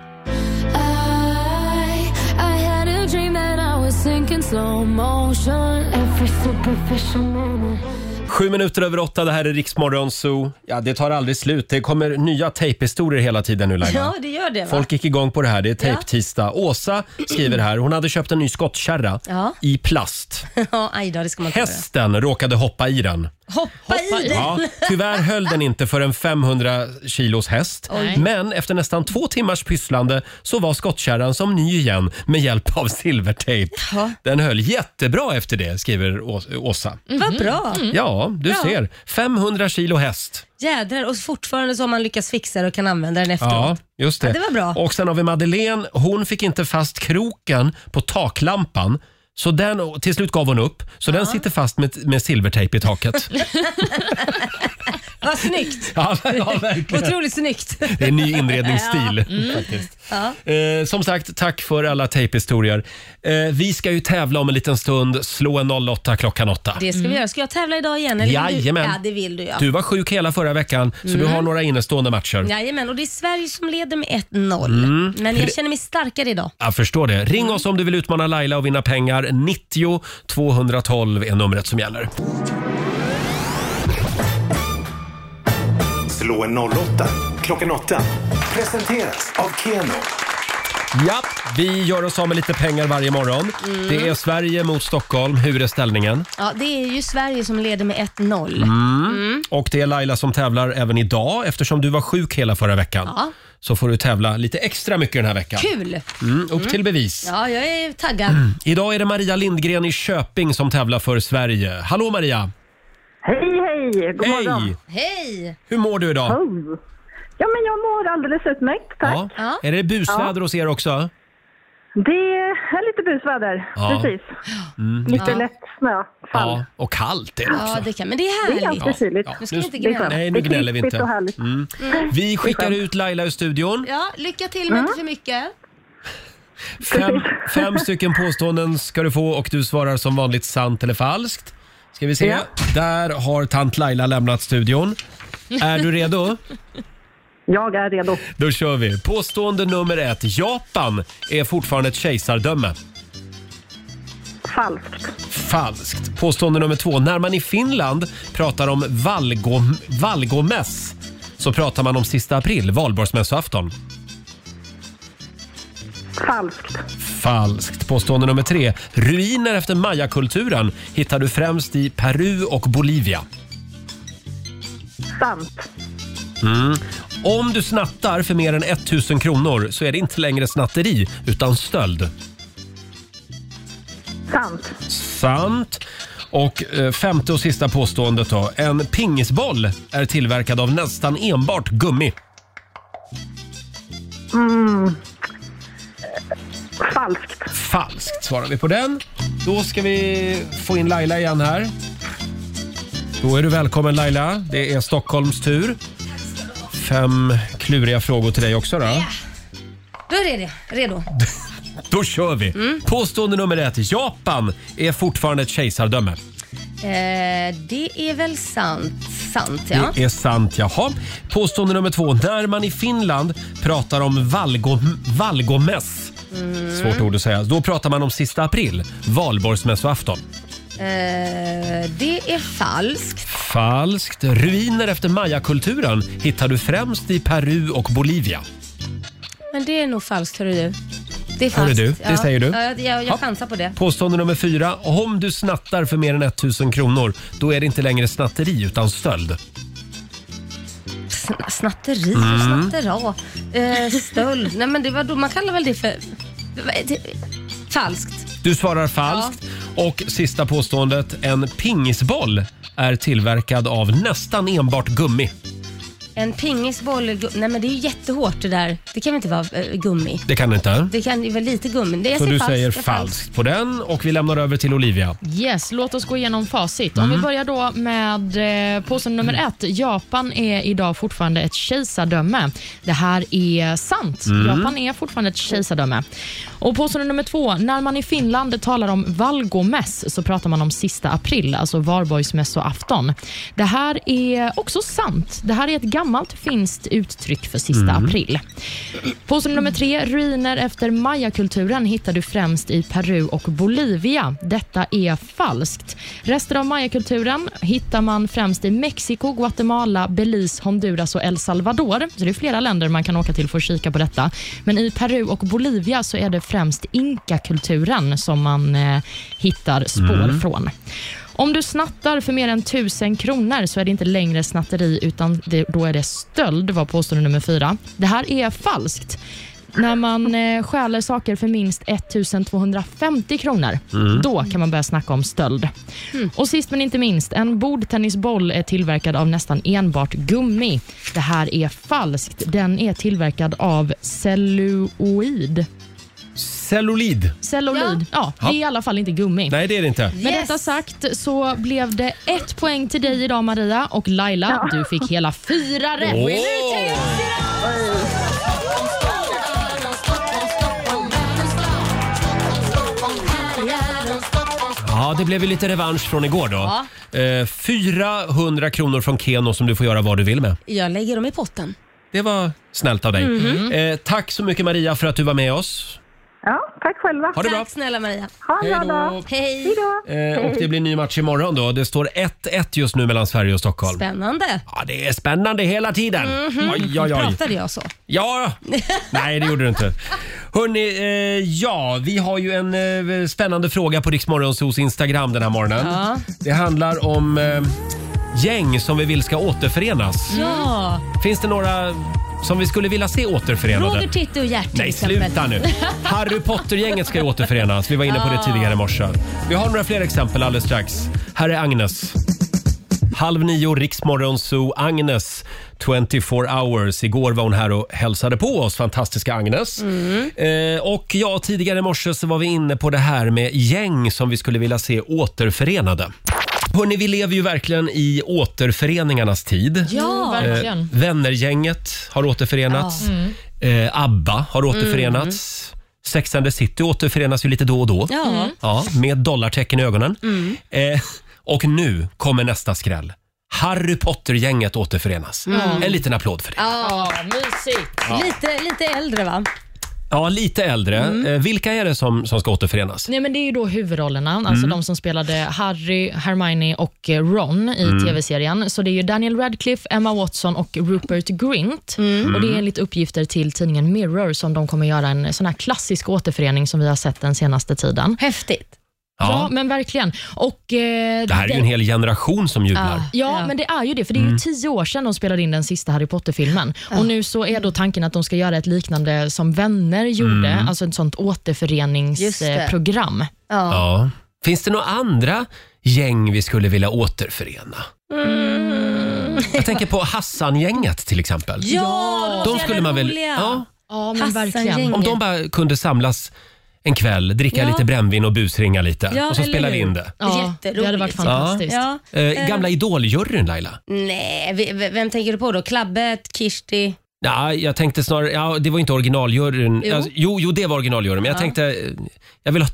J: I had a dream that I was sinking slow motion. Every superficial moment.
I: Sju minuter över åtta, det här är Riksmorgon Zoo. Ja, det tar aldrig slut. Det kommer nya tejphistorier hela tiden nu, Laila.
B: Ja, det gör det va?
I: Folk gick igång på det här. Det är tejptisdag. Åsa skriver här, hon hade köpt en ny skottkärra
B: Ja.
I: i plast.
B: Ja, aj då, det ska man inte göra.
I: Hästen råkade hoppa i den.
B: Hoppa, i den!
I: Ja, tyvärr höll den inte för en 500 kilos häst.
C: Oj.
I: Men efter nästan två timmars pysslande så var skottkärran som ny igen med hjälp av silvertejp. Den höll jättebra efter det, skriver Å- Åsa.
B: Vad Mm. bra!
I: Ja, du ser. 500 kilo häst.
B: Jädrar, och fortfarande så har man lyckats fixa det och kan använda den efteråt.
I: Ja, just det.
B: Ja, det var bra.
I: Och sen har vi Madeleine. Hon fick inte fast kroken på taklampan. Så den, till slut gav hon upp, så den sitter fast med, med silvertejp i taket.
B: Vad snyggt!
I: ja, ja, verkligen.
B: Otroligt snyggt.
I: Det är en ny inredningsstil.
B: Mm.
I: faktiskt. Eh, som sagt, tack för alla tejphistorier. Eh, vi ska ju tävla om en liten stund. Slå en 08 klockan 8.
B: Det ska vi göra. Ska jag tävla idag igen? Eller vill du-
I: Jajamän.
B: Ja, det vill du ja. Mm.
I: Du var sjuk hela förra veckan, så du har några innestående matcher.
B: Jajamän, och det är Sverige som leder med 1-0. Men jag känner mig starkare idag.
I: Jag förstår det. Ring oss om du vill utmana Laila och vinna pengar. 90 212 är numret som gäller.
D: Slå en 08 klockan 8. Presenteras av Keno.
I: Ja, vi gör oss av med lite pengar varje morgon.
B: Mm.
I: Det är Sverige mot Stockholm. Hur är ställningen?
B: Ja, det är ju Sverige som leder med 1-0.
I: Och det är Laila som tävlar även idag eftersom du var sjuk hela förra veckan.
B: Ja.
I: Så får du tävla lite extra mycket den här veckan.
B: Kul!
I: Mm, upp till bevis.
B: Ja, jag är taggad.
I: Idag är det Maria Lindgren i Köping som tävlar för Sverige. Hallå Maria!
E: Hej, hej! God morgon!
I: Hej!
B: Hej!
I: Hur mår du idag?
E: Oh. Ja, men jag mår alldeles utmärkt, tack.
I: Ja. Är det busväder hos er också?
E: Det är lite busväder,
I: Ja. Mm.
E: precis. lite lätt snö, fall.
I: Ja, och kallt är det också.
B: Ja, det kan, men det är
E: Det är
B: härligt.
E: ganska kyligt.
I: Ja.
B: Nu ska
I: Nu-
B: vi inte
E: Det är
B: gnälla.
E: skönt.
I: Nej, nu
E: det är
I: gnäller vi
E: krispigt
I: inte. Mm.
E: och härligt.
I: Vi skickar ut Laila ur studion.
B: Ja, lycka till men inte för mycket.
I: Fem, fem stycken påståenden ska du få och du svarar som vanligt sant eller falskt. Ska vi se.
E: Ja.
I: Där har tant Laila lämnat studion. Är du redo?
E: Jag är redo.
I: Då kör vi. Påstående nummer ett. Japan är fortfarande ett kejsardöme.
E: Falskt.
I: Falskt. Påstående nummer två. När man i Finland pratar om valgom, valgomäss så pratar man om sista april, valborgsmässoafton.
E: Falskt.
I: Falskt. Påstående nummer tre. Ruiner efter mayakulturen hittar du främst i Peru och Bolivia.
E: Sant.
I: Om du snattar för mer än 1000 kronor så är det inte längre snatteri utan stöld.
E: Sant.
I: Sant. Och eh, femte och sista påståendet då. En pingisboll är tillverkad av nästan enbart gummi.
E: Falskt.
I: Falskt svarar vi på den. Då ska vi få in Laila igen här. Då är du välkommen Laila. Det är Stockholms tur. Fem kluriga frågor till dig också då.
B: Då är det redo.
I: Då kör vi! Påstående nummer ett. Japan är fortfarande ett kejsardöme.
B: Eh, det är väl sant? Sant, ja.
I: Det är sant, jaha. Påstående nummer två. När man i Finland pratar om valgo, valgomäss, svårt ord att säga, då pratar man om sista april, valborgsmässoafton.
B: Eh, det är falskt.
I: Falskt. Ruiner efter mayakulturen hittar du främst i Peru och Bolivia.
B: Men det är nog falskt, hörru du. Det är falskt.
I: Hörru du, det
B: ja.
I: säger du.
B: Ja, jag
I: Ja.
B: jag, jag chansar på det.
I: Påstående nummer fyra. Om du snattar för mer än 1000 kronor, då är det inte längre snatteri utan stöld.
B: Sn- Snatteri
I: Mm.
B: och snattera. Eh, stöld. Nej, men det var då, man kallar väl det för... det- Falskt.
I: Du svarar falskt. Och sista påståendet. En pingisboll är tillverkad av nästan enbart gummi.
B: En pingisboll är gu- Nej, men det är ju jättehårt det där. Det kan väl inte vara eh, gummi?
I: Det kan det inte.
B: Det kan ju vara lite gummi. Det, jag
I: Så du
B: falskt.
I: säger
B: Det är
I: falskt på den och vi lämnar över till Olivia.
C: Yes, låt oss gå igenom facit. Om vi börjar då med eh, påse nummer ett. Japan är idag fortfarande ett kejsardöme. Det här är sant. Japan är fortfarande ett kejsardöme. Och påse nummer två. När man i Finland talar om valgomäss så pratar man om sista april, alltså valborgsmässoafton. Det här är också sant. Det här är ett gammalt finskt uttryck för sista april. Påstående nummer tre. Ruiner efter mayakulturen hittar du främst i Peru och Bolivia. Detta är falskt. Rester av mayakulturen hittar man främst i Mexiko, Guatemala, Belize, Honduras och El Salvador. Så det är flera länder man kan åka till för att kika på detta. Men i Peru och Bolivia så är det främst inkakulturen som man eh, hittar spår från. Om du snattar för mer än 1000 kronor så är det inte längre snatteri utan det, då är det stöld, var påstående nummer fyra. Det här är falskt. När man eh, stjäler saker för minst 1250 kronor, då kan man börja snacka om stöld. Och sist men inte minst, en bordtennisboll är tillverkad av nästan enbart gummi. Det här är falskt. Den är tillverkad av celluloid.
I: Cellulid.
C: Celluloid, ja. det är i alla fall inte gummi.
I: Nej, det är det inte.
C: Med
B: Yes.
C: detta sagt så blev det ett poäng till dig idag Maria och Laila, du fick hela fyra rätt.
I: Åh! Ja, det blev ju lite revansch från igår då. Eh, 400 kronor från Keno som du får göra vad du vill med.
B: falskt. Jag lägger dem i potten.
I: Det var snällt av dig. Eh, tack så mycket Maria för att du var med oss.
E: Ja, tack själva.
I: Ha det bra.
B: Tack snälla Maria.
E: Ha en bra dag.
B: Hej.
E: Hej då.
I: Eh, och det blir ny match imorgon då. Det står 1-1 just nu mellan Sverige och Stockholm.
B: Spännande.
I: Ja, det är spännande hela tiden. Oj, oj, oj.
B: Pratade jag så?
I: Ja! Nej, det gjorde du inte. Hörni, eh, ja, vi har ju en eh, spännande fråga på Riksmorgonsos Instagram den här morgonen.
B: Ja.
I: Det handlar om eh, gäng som vi vill ska återförenas.
B: Ja.
I: Finns det några som vi skulle vilja se återförenade?
B: Roger, Titti och liksom. Gert till
I: Nej,
B: exempel.
I: sluta nu. Harry Potter-gänget ska ju återförenas. Vi var inne på det tidigare i morse. Vi har några fler exempel alldeles strax. Här är Agnes. Halv nio, Riksmorgon Zoo. Agnes, 24 hours. Igår var hon här och hälsade på oss, fantastiska Agnes.
B: Mm.
I: Eh, och ja, tidigare i morse så var vi inne på det här med gäng som vi skulle vilja se återförenade. Hörni, vi lever ju verkligen i återföreningarnas tid.
C: Ja,
B: Ja.
C: Mm, verkligen.
I: Eh,
C: Mm.
I: Vännergänget har återförenats. Eh, ABBA har återförenats. Sex and the City återförenas ju lite då och då.
B: Ja.
I: Ja, med dollartecken i ögonen.
C: Mm.
I: Eh, och nu kommer nästa skräll. Harry Potter-gänget återförenas. En liten applåd för det.
C: Ja, mysigt.
B: Lite, lite äldre va?
I: Ja, lite äldre.
C: Mm.
I: Eh, vilka är det som, som ska återförenas?
C: Nej, men det är ju då huvudrollerna,
I: Mm.
C: alltså de som spelade Harry, Hermione och eh, Ron i
I: Mm.
C: tv-serien. Så det är ju Daniel Radcliffe, Emma Watson och Rupert Grint. Och Det
I: Mm.
C: är enligt uppgifter till tidningen Mirror som de kommer göra en sån här klassisk återförening som vi har sett den senaste tiden.
B: Häftigt.
I: Ja.
C: Ja, men verkligen. Och, eh,
I: Det här är ju en hel generation som jublar.
B: Ah.
C: Ja,
B: Ja.
C: men det är ju det. För det
I: Mm.
C: är ju tio år sedan de spelade in den sista Harry Potter-filmen. Och nu så är då tanken att de ska göra ett liknande som Vänner gjorde,
I: Mm.
C: alltså ett sånt
B: Just det.
C: återföreningsprogram.
B: Ja.
I: Ja. Finns det några andra gäng vi skulle vilja återförena?
C: Mm.
I: Jag tänker på Hassan-gänget till exempel.
B: Ja,
I: De skulle man väl, ja,
B: Ja.
C: Ja, men
B: Hassan
C: verkligen.
B: Gäng.
I: om de bara kunde samlas en kväll, dricka
B: Ja.
I: lite brännvin och busringa lite
B: Ja,
I: och så
B: eller
I: spelar vi
B: hur?
I: in det.
C: Ja,
B: Jätteroligt.
C: det hade varit fantastiskt.
B: Ja.
I: Eh, gamla Idoljuryn Laila?
B: Nej, v- v- vem tänker du på då? Klabbe, Kirsti?
I: Ja, jag tänkte snarare, ja, det var inte originaljuryn.
B: Jo.
I: Alltså, jo, jo, det var originaljuryn, men jag tänkte, eh, jag vill ha,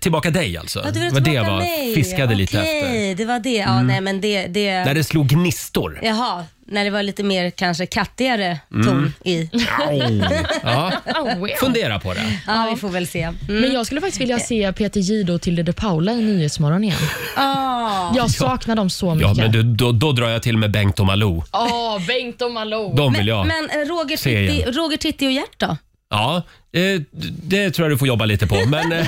I: tillbaka dig alltså?
B: Ja, du ville
I: Vad det
B: tillbaka
I: var
B: mig.
I: fiskade lite efter. Mm.
B: Okej, det var det. Ja, nej men det... det...
I: När det slog gnistor.
B: Jaha, när det var lite mer kanske kattigare ton
I: Mm.
B: i.
I: Au. Ja,
C: Oh, wow.
I: fundera på det.
B: Ja, vi får väl se. Mm.
C: Men jag skulle faktiskt vilja se Peter Jihde och Tilde de Paula i Nyhetsmorgon igen.
B: Ah.
C: Jag saknar dem så
I: Ja,
C: mycket.
I: men du, då, då drar jag till med Bengt och Malou.
C: Åh, Bengt och Malou.
I: De vill jag.
B: Men eh, Roger
I: Se
B: Titti,
I: igen.
B: Roger Titti och Gert då?
I: Ja, eh, det tror jag du får jobba lite på. Men eh,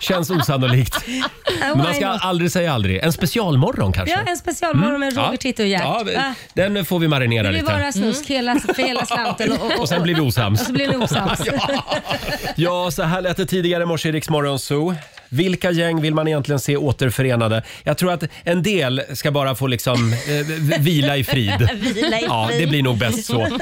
I: känns osannolikt. Men man ska aldrig säga aldrig. En specialmorgon kanske?
B: Ja, en specialmorgon med Roger Titti och Gert.
I: Ja,
B: Ah,
I: den får vi marinera
B: det blir
I: lite.
B: bara snusk hela, för hela slanten. Och, och,
I: Och sen blir vi osams.
B: och så blir det osams.
I: Ja, så här lät det tidigare i morse i Rix Morgon Zoo. Vilka gäng vill man egentligen se återförenade? Jag tror att en del ska bara få liksom eh, v- vila i frid.
B: Vila i
I: Ja,
B: frid.
I: det blir nog bäst så. Eh,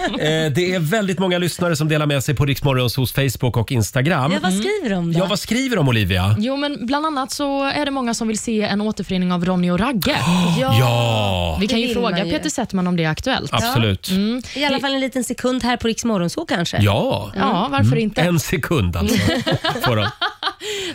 I: det är väldigt många lyssnare som delar med sig på Rix Morgon Zoos Facebook och Instagram.
B: Ja, vad skriver de då?
I: Mm. Ja, vad skriver de Olivia?
C: Jo, men bland annat så är det många som vill se en återförening av Ronny och Ragge.
I: Ja,
C: Vi kan
B: Det
C: ju
B: vill
C: fråga
B: man ju.
C: Peter Settman om det är aktuellt. Ja,
I: absolut.
B: I alla fall en liten sekund här på Rix Morgonzoo kanske.
I: Ja,
C: varför inte?
I: Mm. en sekund alltså. Får de.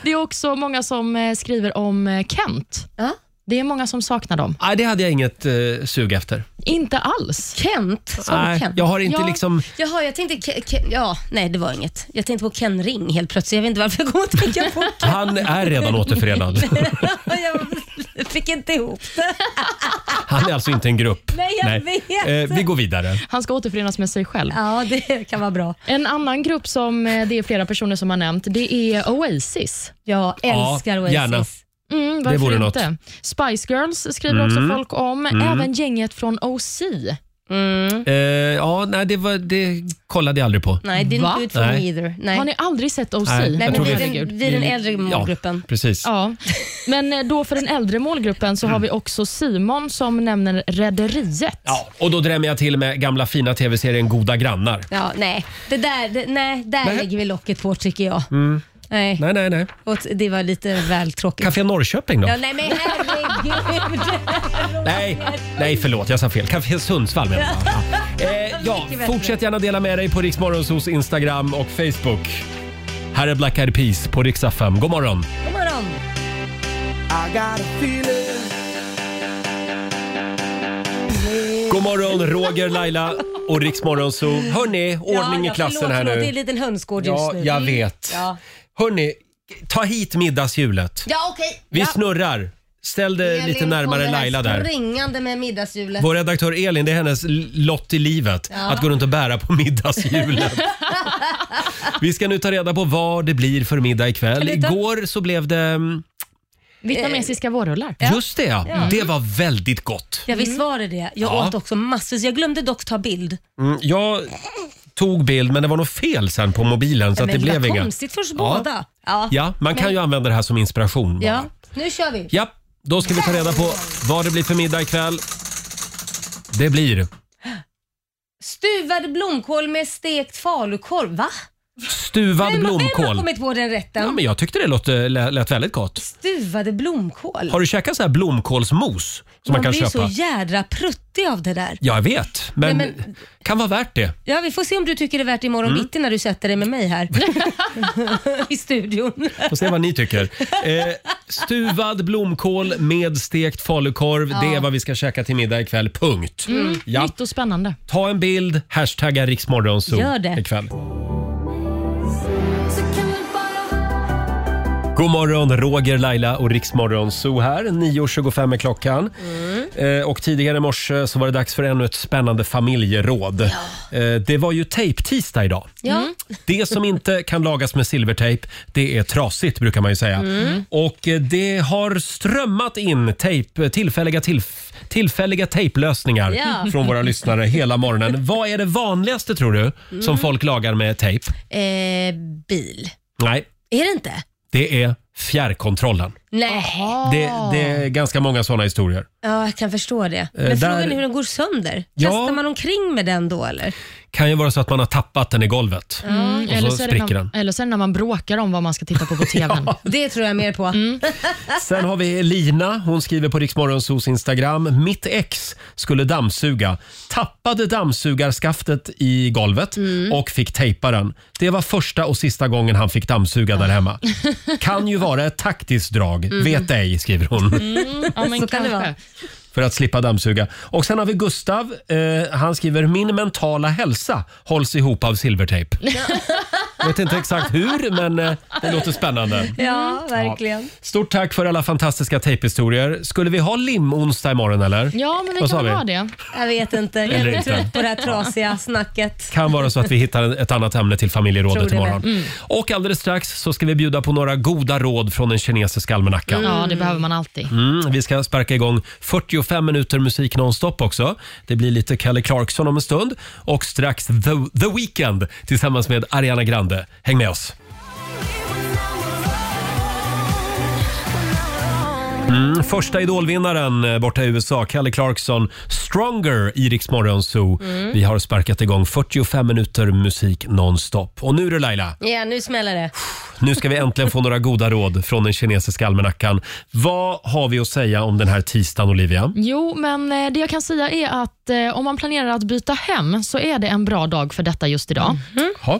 C: Det är också många som eh, skriver om eh, Kent.
B: Ja.
C: Det är många som saknar dem.
I: Nej, det hade jag inget eh, sug efter.
C: Inte alls.
B: Kent, som
I: Nej,
B: Kent.
I: jag har inte
C: Ja.
I: liksom...
B: Jaha, jag tänkte... Ke- Ke- ja, nej det var inget. Jag tänkte på Ken Ring helt plötsligt. Jag vet inte varför jag kom att tänka på Ken.
I: Han är redan återförenad.
B: jag fick inte ihop det.
I: Han är alltså inte en grupp.
B: Nej, jag vet.
I: Eh, vi går vidare.
C: Han ska återförenas med sig själv.
B: Ja, det kan vara bra.
C: En annan grupp som eh, det är flera personer som har nämnt, det är Oasis.
B: Jag älskar
I: Ja,
B: Oasis.
I: gärna.
C: Mm, varför
I: vore något. Mm.
C: inte? Spice Girls skriver också folk om, även gänget från OC.
I: Eh, ja, nej, det, var, det kollade jag aldrig på.
B: Nej, det
C: Va?
B: är inte for me
I: Nej.
B: either. Nej.
C: Har ni aldrig sett OC?
I: Nej, jag
B: Nej, men
I: tror
B: vi,
I: vi-
B: är den, vi är den äldre målgruppen.
I: Ja, precis.
C: Ja, men eh, då för den äldre målgruppen så har vi också Simon som nämner Rederiet.
I: Ja, och då drämmer jag till med gamla fina tv-serien Goda grannar.
B: Ja. nej. Det där, det, nej, där
I: Nej. Mm.
B: lägger vi locket på tycker jag. Nej.
I: Nej, nej, nej.
B: Och det var lite väl tråkigt.
I: Café Norrköping då?
B: Ja, nej men herregud.
I: Nej, nej förlåt, jag sa fel. Café Sundsvall menar jag. Ja. Eh, ja,
B: Mycket bättre.
I: fortsätt gärna dela med dig på Riksmorgonsos Instagram och Facebook. Här är Black Eyed Peas på Rix FM. God morgon!
B: God morgon.
I: God morgon Roger, Laila och Riksmorgonso. Hörni, ordning
B: ja,
I: i klassen
B: förlåt,
I: här
B: förlåt,
I: nu.
B: Det är en liten hönsgård just
I: Ja,
B: nu.
I: jag vet.
B: Ja,
I: Hörni, ta hit middagshjulet.
B: ja okej.
I: Vi
B: ja.
I: snurrar. Ställ dig lite
B: Elin
I: närmare
B: kommer här
I: Laila där.
B: Springande med middagshjulet.
I: Vår redaktör Elin, det är hennes l- lott i livet att gå runt och bära på middagshjulet. Vi ska nu ta reda på vad det blir för middag ikväll.
B: Kan du ta-
I: Igår så blev det... mm,
C: Vietnamesiska vårrullar.
I: Just det ja. Det var väldigt gott.
B: Ja visst var det det. Jag
I: Ja.
B: åt också massvis. Jag glömde dock ta bild.
I: Mm, Jag tog bild men det var nog fel sen på mobilen så att det
B: men
I: blev
B: vad
I: inga.
B: konstigt för oss
I: Ja.
B: båda. Ja.
I: Ja, man kan ju använda det här som inspiration. bara.
B: ja, nu kör vi.
I: Ja, då ska vi ta reda på vad det blir för middag ikväll. Det blir
B: Stuvad blomkål med stekt falukorv. Va?
I: stuvad
B: Vem har
I: blomkål.
B: kommit på den rätten?
I: Ja, men jag tyckte det låt, eh, lä- lät väldigt gott.
B: Stuvade blomkål.
I: Har du käkat så här blomkålsmos som man kan
B: blir
I: köpa?
B: så jädra pruttig av det där.
I: Jag vet, men,
B: Nej, men-
I: kan vara värt det.
B: Ja, vi får se om du tycker det är värt imorgon
I: Mm.
B: bitti när du sätter dig med mig här i studion.
I: Får se vad ni tycker. Eh, stuvad blomkål med stekt falukorv. Det är vad vi ska käka till middag ikväll. Punkt. Ja.
C: Nytt och spännande.
I: Ta en bild, hashtagga riksmorgonzoo
B: Gör det.
I: ikväll. God morgon, Roger, Laila och Riksmorgon Zoo här. 9.25 är klockan. Eh, och tidigare i morse så var det dags för ännu ett spännande familjeråd. Eh, det var ju tejptisdag idag.
B: Ja.
I: Det som inte kan lagas med silvertejp, det är trasigt brukar man ju säga.
B: Mm.
I: Och eh, det har strömmat in tejp, tillfälliga, tillf- tillfälliga tejplösningar
B: Ja.
I: från våra lyssnare hela morgonen. Vad är det vanligaste tror du
C: Mm.
B: Mm.
I: som folk lagar med tejp?
B: Eh, bil.
I: Nej,
B: Är det inte?
I: det är fjärrkontrollen.
B: Nej,
I: Det, det är ganska många såna historier.
B: ja, jag kan förstå det. Men
I: Eh, där-
B: frågan är hur den går sönder.
I: Ja.
B: Kastar man omkring med den då eller?
I: kan ju vara så att man har tappat den i golvet.
C: Mm,
I: Och så
C: eller, så är det
I: spricker
C: när,
I: den.
C: eller så är det när man bråkar om vad man ska titta på på tvn.
B: Det tror jag mer på.
I: Sen har vi Elina. Hon skriver på Riksmorgonsos Instagram. Mitt ex skulle dammsuga. Tappade dammsugarskaftet i golvet och fick tejpa den. Det var första och sista gången han fick dammsuga där hemma. Kan ju vara ett taktiskt drag. Vet ej, skriver hon.
C: Ja, men
B: Så kan det vara.
I: För att slippa dammsuga. Och sen har vi Gustav. Eh, han skriver “Min mentala hälsa hålls ihop av silvertejp”. Vet inte exakt hur, men eh, det låter spännande.
B: Ja, verkligen.
I: Stort tack för alla fantastiska tejphistorier. Skulle vi ha limonsdag imorgon eller?
C: Ja, men vi
I: Vad sa
C: kan
I: vi?
C: väl ha det.
B: Jag vet inte. Jag
I: Eller
B: är
I: inte.
B: trött på det här trasiga snacket.
I: Kan vara så att vi hittar ett annat ämne till
B: Tror
I: familjerådet
B: det Mm.
I: imorgon. Och alldeles strax så ska vi bjuda på några goda råd från den kinesiska almanackan.
C: Ja, det behöver man alltid.
I: Mm, vi ska sparka igång 45 minuter musik nonstop också. Det blir lite Kelly Clarkson om en stund och strax The, The Weeknd tillsammans med Ariana Grande. Häng med oss! Mm, första idolvinnaren eh, borta i USA, Kelly Clarkson, Stronger i Rix Morgon Zoo. Vi har sparkat igång 45 minuter musik nonstop. Och nu du Laila,
B: Ja, nu smäller det.
I: nu ska vi äntligen få några goda råd från den kinesiska almanackan. Vad har vi att säga om den här tisdagen, Olivia?
C: Jo, men eh, det jag kan säga är att eh, om man planerar att byta hem så är det en bra dag för detta just idag.
I: Ja,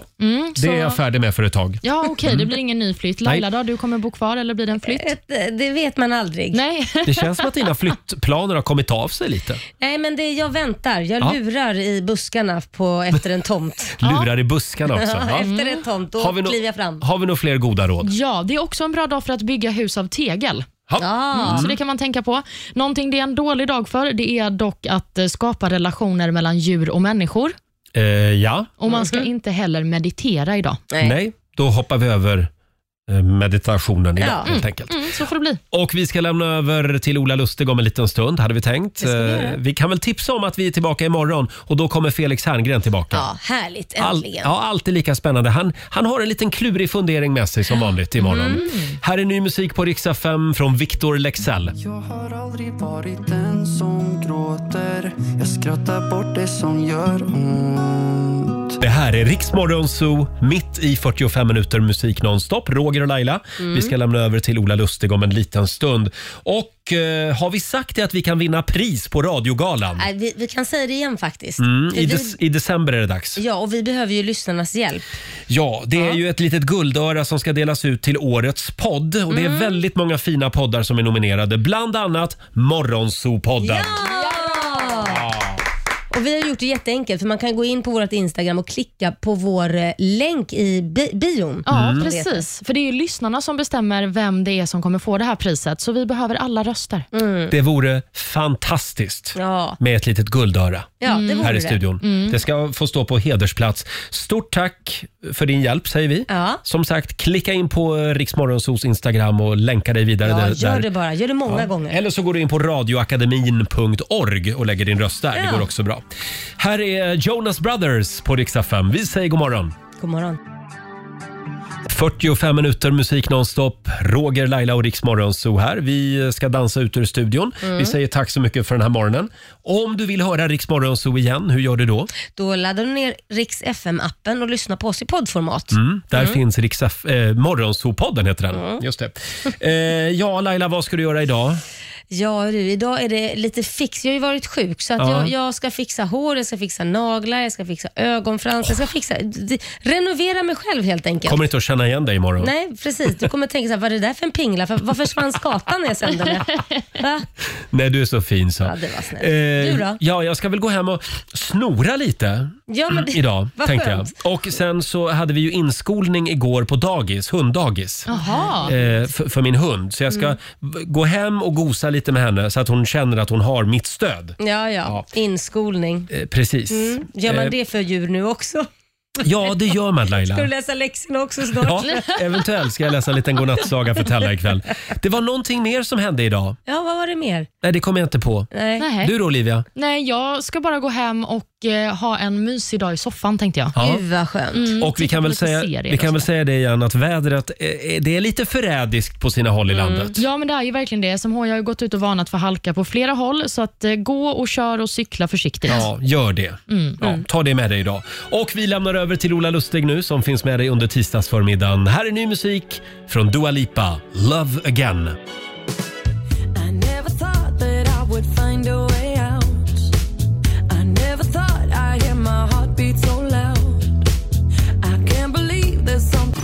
I: det
C: så-
I: är jag färdig med för ett tag.
C: Ja, okej, det blir ingen nyflytt. Laila då, du kommer bo kvar eller blir det en flytt?
B: Ett, eh, det vet man aldrig. Nej,
C: Nej.
I: Det känns som att dina flyttplaner har kommit av sig lite.
B: men det jag väntar. Jag
I: Ja.
B: lurar i buskarna på, efter en tomt.
I: Lurar i buskarna också. Ja.
B: efter en tomt, då
I: Har vi nå-
B: kliver jag fram.
I: Har vi några fler goda råd?
C: Ja, det är också en bra dag för att bygga hus av tegel.
B: Ja,
C: Så det kan man tänka på. Någonting det är en dålig dag för, det är dock att eh, skapa relationer mellan djur och människor.
I: Eh, ja,
C: Och man ska inte heller meditera idag.
I: nej.
B: Nej.
I: Då hoppar vi över eh, meditationen idag
B: Ja.
I: helt enkelt.
C: Mm, så får det bli.
I: Och vi ska lämna över till Ola Lustig om en liten stund hade vi tänkt.
B: ska vi
I: Eh,
B: göra.
I: vi kan väl tipsa om att vi är tillbaka imorgon och då kommer Felix Herngren tillbaka.
B: ja härligt.
I: All,
B: Äntligen.
I: ja, alltid lika spännande. Han, han har en liten klurig fundering med sig som vanligt imorgon.
C: Mm.
I: Här är ny musik på Riksa 5 från Victor Lexell.
D: Jag har aldrig varit den som gråter Jag skrattar bort det som gör ont
I: Det här är Riksmorgon Zoo, mitt i 45 minuter musik nonstop. Roger och Laila. Vi ska lämna över till Ola Lustig om en liten stund. Och eh, har vi sagt det att vi kan vinna pris på radiogalan?
B: Nej, vi, vi kan säga det igen faktiskt.
I: Mm,
B: För
I: I,
B: vi,
I: des- I december är det dags.
B: ja, och vi behöver ju lyssnarnas hjälp.
I: Ja, det är ju ett litet guldöra som ska delas ut till årets podd. Och det är väldigt många fina poddar som är nominerade. Bland annat Morgonzoo-podden.
B: Och Vi har gjort det jätteenkelt, för man kan gå in på vårt Instagram och klicka på vår eh, länk i bi- bion.
C: Ja,
I: Mm.
C: precis. För det är ju lyssnarna som bestämmer vem det är som kommer få det här priset, så vi behöver alla röster.
I: Det vore fantastiskt
B: Ja.
I: med ett litet guldöra.
B: Ja, det vore
I: Mm. här i
B: det. Mm.
I: studion. Det ska få stå på hedersplats. Stort tack för din hjälp säger vi.
B: Ja.
I: Som sagt, klicka in på eh, Riksmorgonsos Instagram och länka dig vidare.
B: Ja,
I: där,
B: gör det
I: där.
B: bara. Gör det många gånger.
I: Eller så går du in på radioakademin.org och lägger din röst där. Det
B: Ja.
I: går också bra. Här är Jonas Brothers på Riksa 5. Vi säger god morgon.
B: God morgon.
I: 45 minuter musik nonstop. Roger, Laila och Riksmorgon så här. Vi ska dansa ut ur studion.
B: Mm.
I: Vi säger tack så mycket för den här morgonen. Om du vill höra Riksmorgon så igen, hur gör du då?
B: Då laddar du ner Riks FM-appen och lyssnar på oss i poddformat.
I: Mm, där finns Rix F- eh, Morgonzoo-podden heter den. Just det. Eh, ja, Laila, vad ska du göra idag?
B: Ja du, idag är det lite fix. Jag har ju varit sjuk så att
I: Ja.
B: jag, jag ska fixa hår, jag ska fixa naglar, jag ska fixa ögonfransar, jag ska fixa... d- Renovera mig själv helt enkelt.
I: Kommer inte att känna igen dig imorgon.
B: Nej, precis. Du kommer tänka så här, vad är det där för en pingla? För- Varför försvann skatan när jag sände det? Va?
I: Nej, du är så fin så.
B: Ja, det var snällt.
I: Eh,
B: Du då?
I: Ja, jag ska väl gå hem och snora lite
B: Ja, men det,
I: idag,
B: vad
I: tänkte
B: skönt.
I: jag. Och sen så hade vi ju inskolning igår på dagis, hunddagis.
C: Jaha.
I: Eh, för, för min hund. Så jag ska
B: Mm.
I: v- gå hem och gosa lite med henne så att hon känner att hon har mitt stöd.
B: Ja, ja. Inskolning. Mm.
I: Eh, precis.
B: Gör man
I: Eh,
B: det för djur nu också?
I: Ja, det gör man Laila.
B: Ska du läsa läxorna också snart?
I: Ja, eventuellt ska jag läsa en liten godnattsaga för Tella ikväll. Det var någonting mer som hände idag.
B: Ja, vad var det mer?
I: Nej, det kommer jag inte på.
B: Nej.
C: Nej.
I: Du då Olivia?
C: Nej, jag ska bara gå hem och och eh, ha en mysig dag i soffan tänkte jag.
I: Ja. Gud, vad
K: skönt.
I: och vi kan, väl säga, vi kan väl säga det igen att vädret, eh, eh, det är lite förrädiskt på sina
C: Mm.
I: håll i landet.
C: Ja, men det är ju verkligen det. SMH har ju gått ut och varnat för halka på flera håll, så att eh, gå och kör och cykla försiktigt.
I: Ja, gör det.
C: Mm.
I: Ja, ta det med dig idag. Och vi lämnar över till Ola Lustig nu som finns med dig under tisdagsförmiddagen. Här är ny musik från Dua Lipa, Love Again.
B: I never thought that I would find a way out. I never thought I'd hear my heartbeat so loud. I can't believe there's something.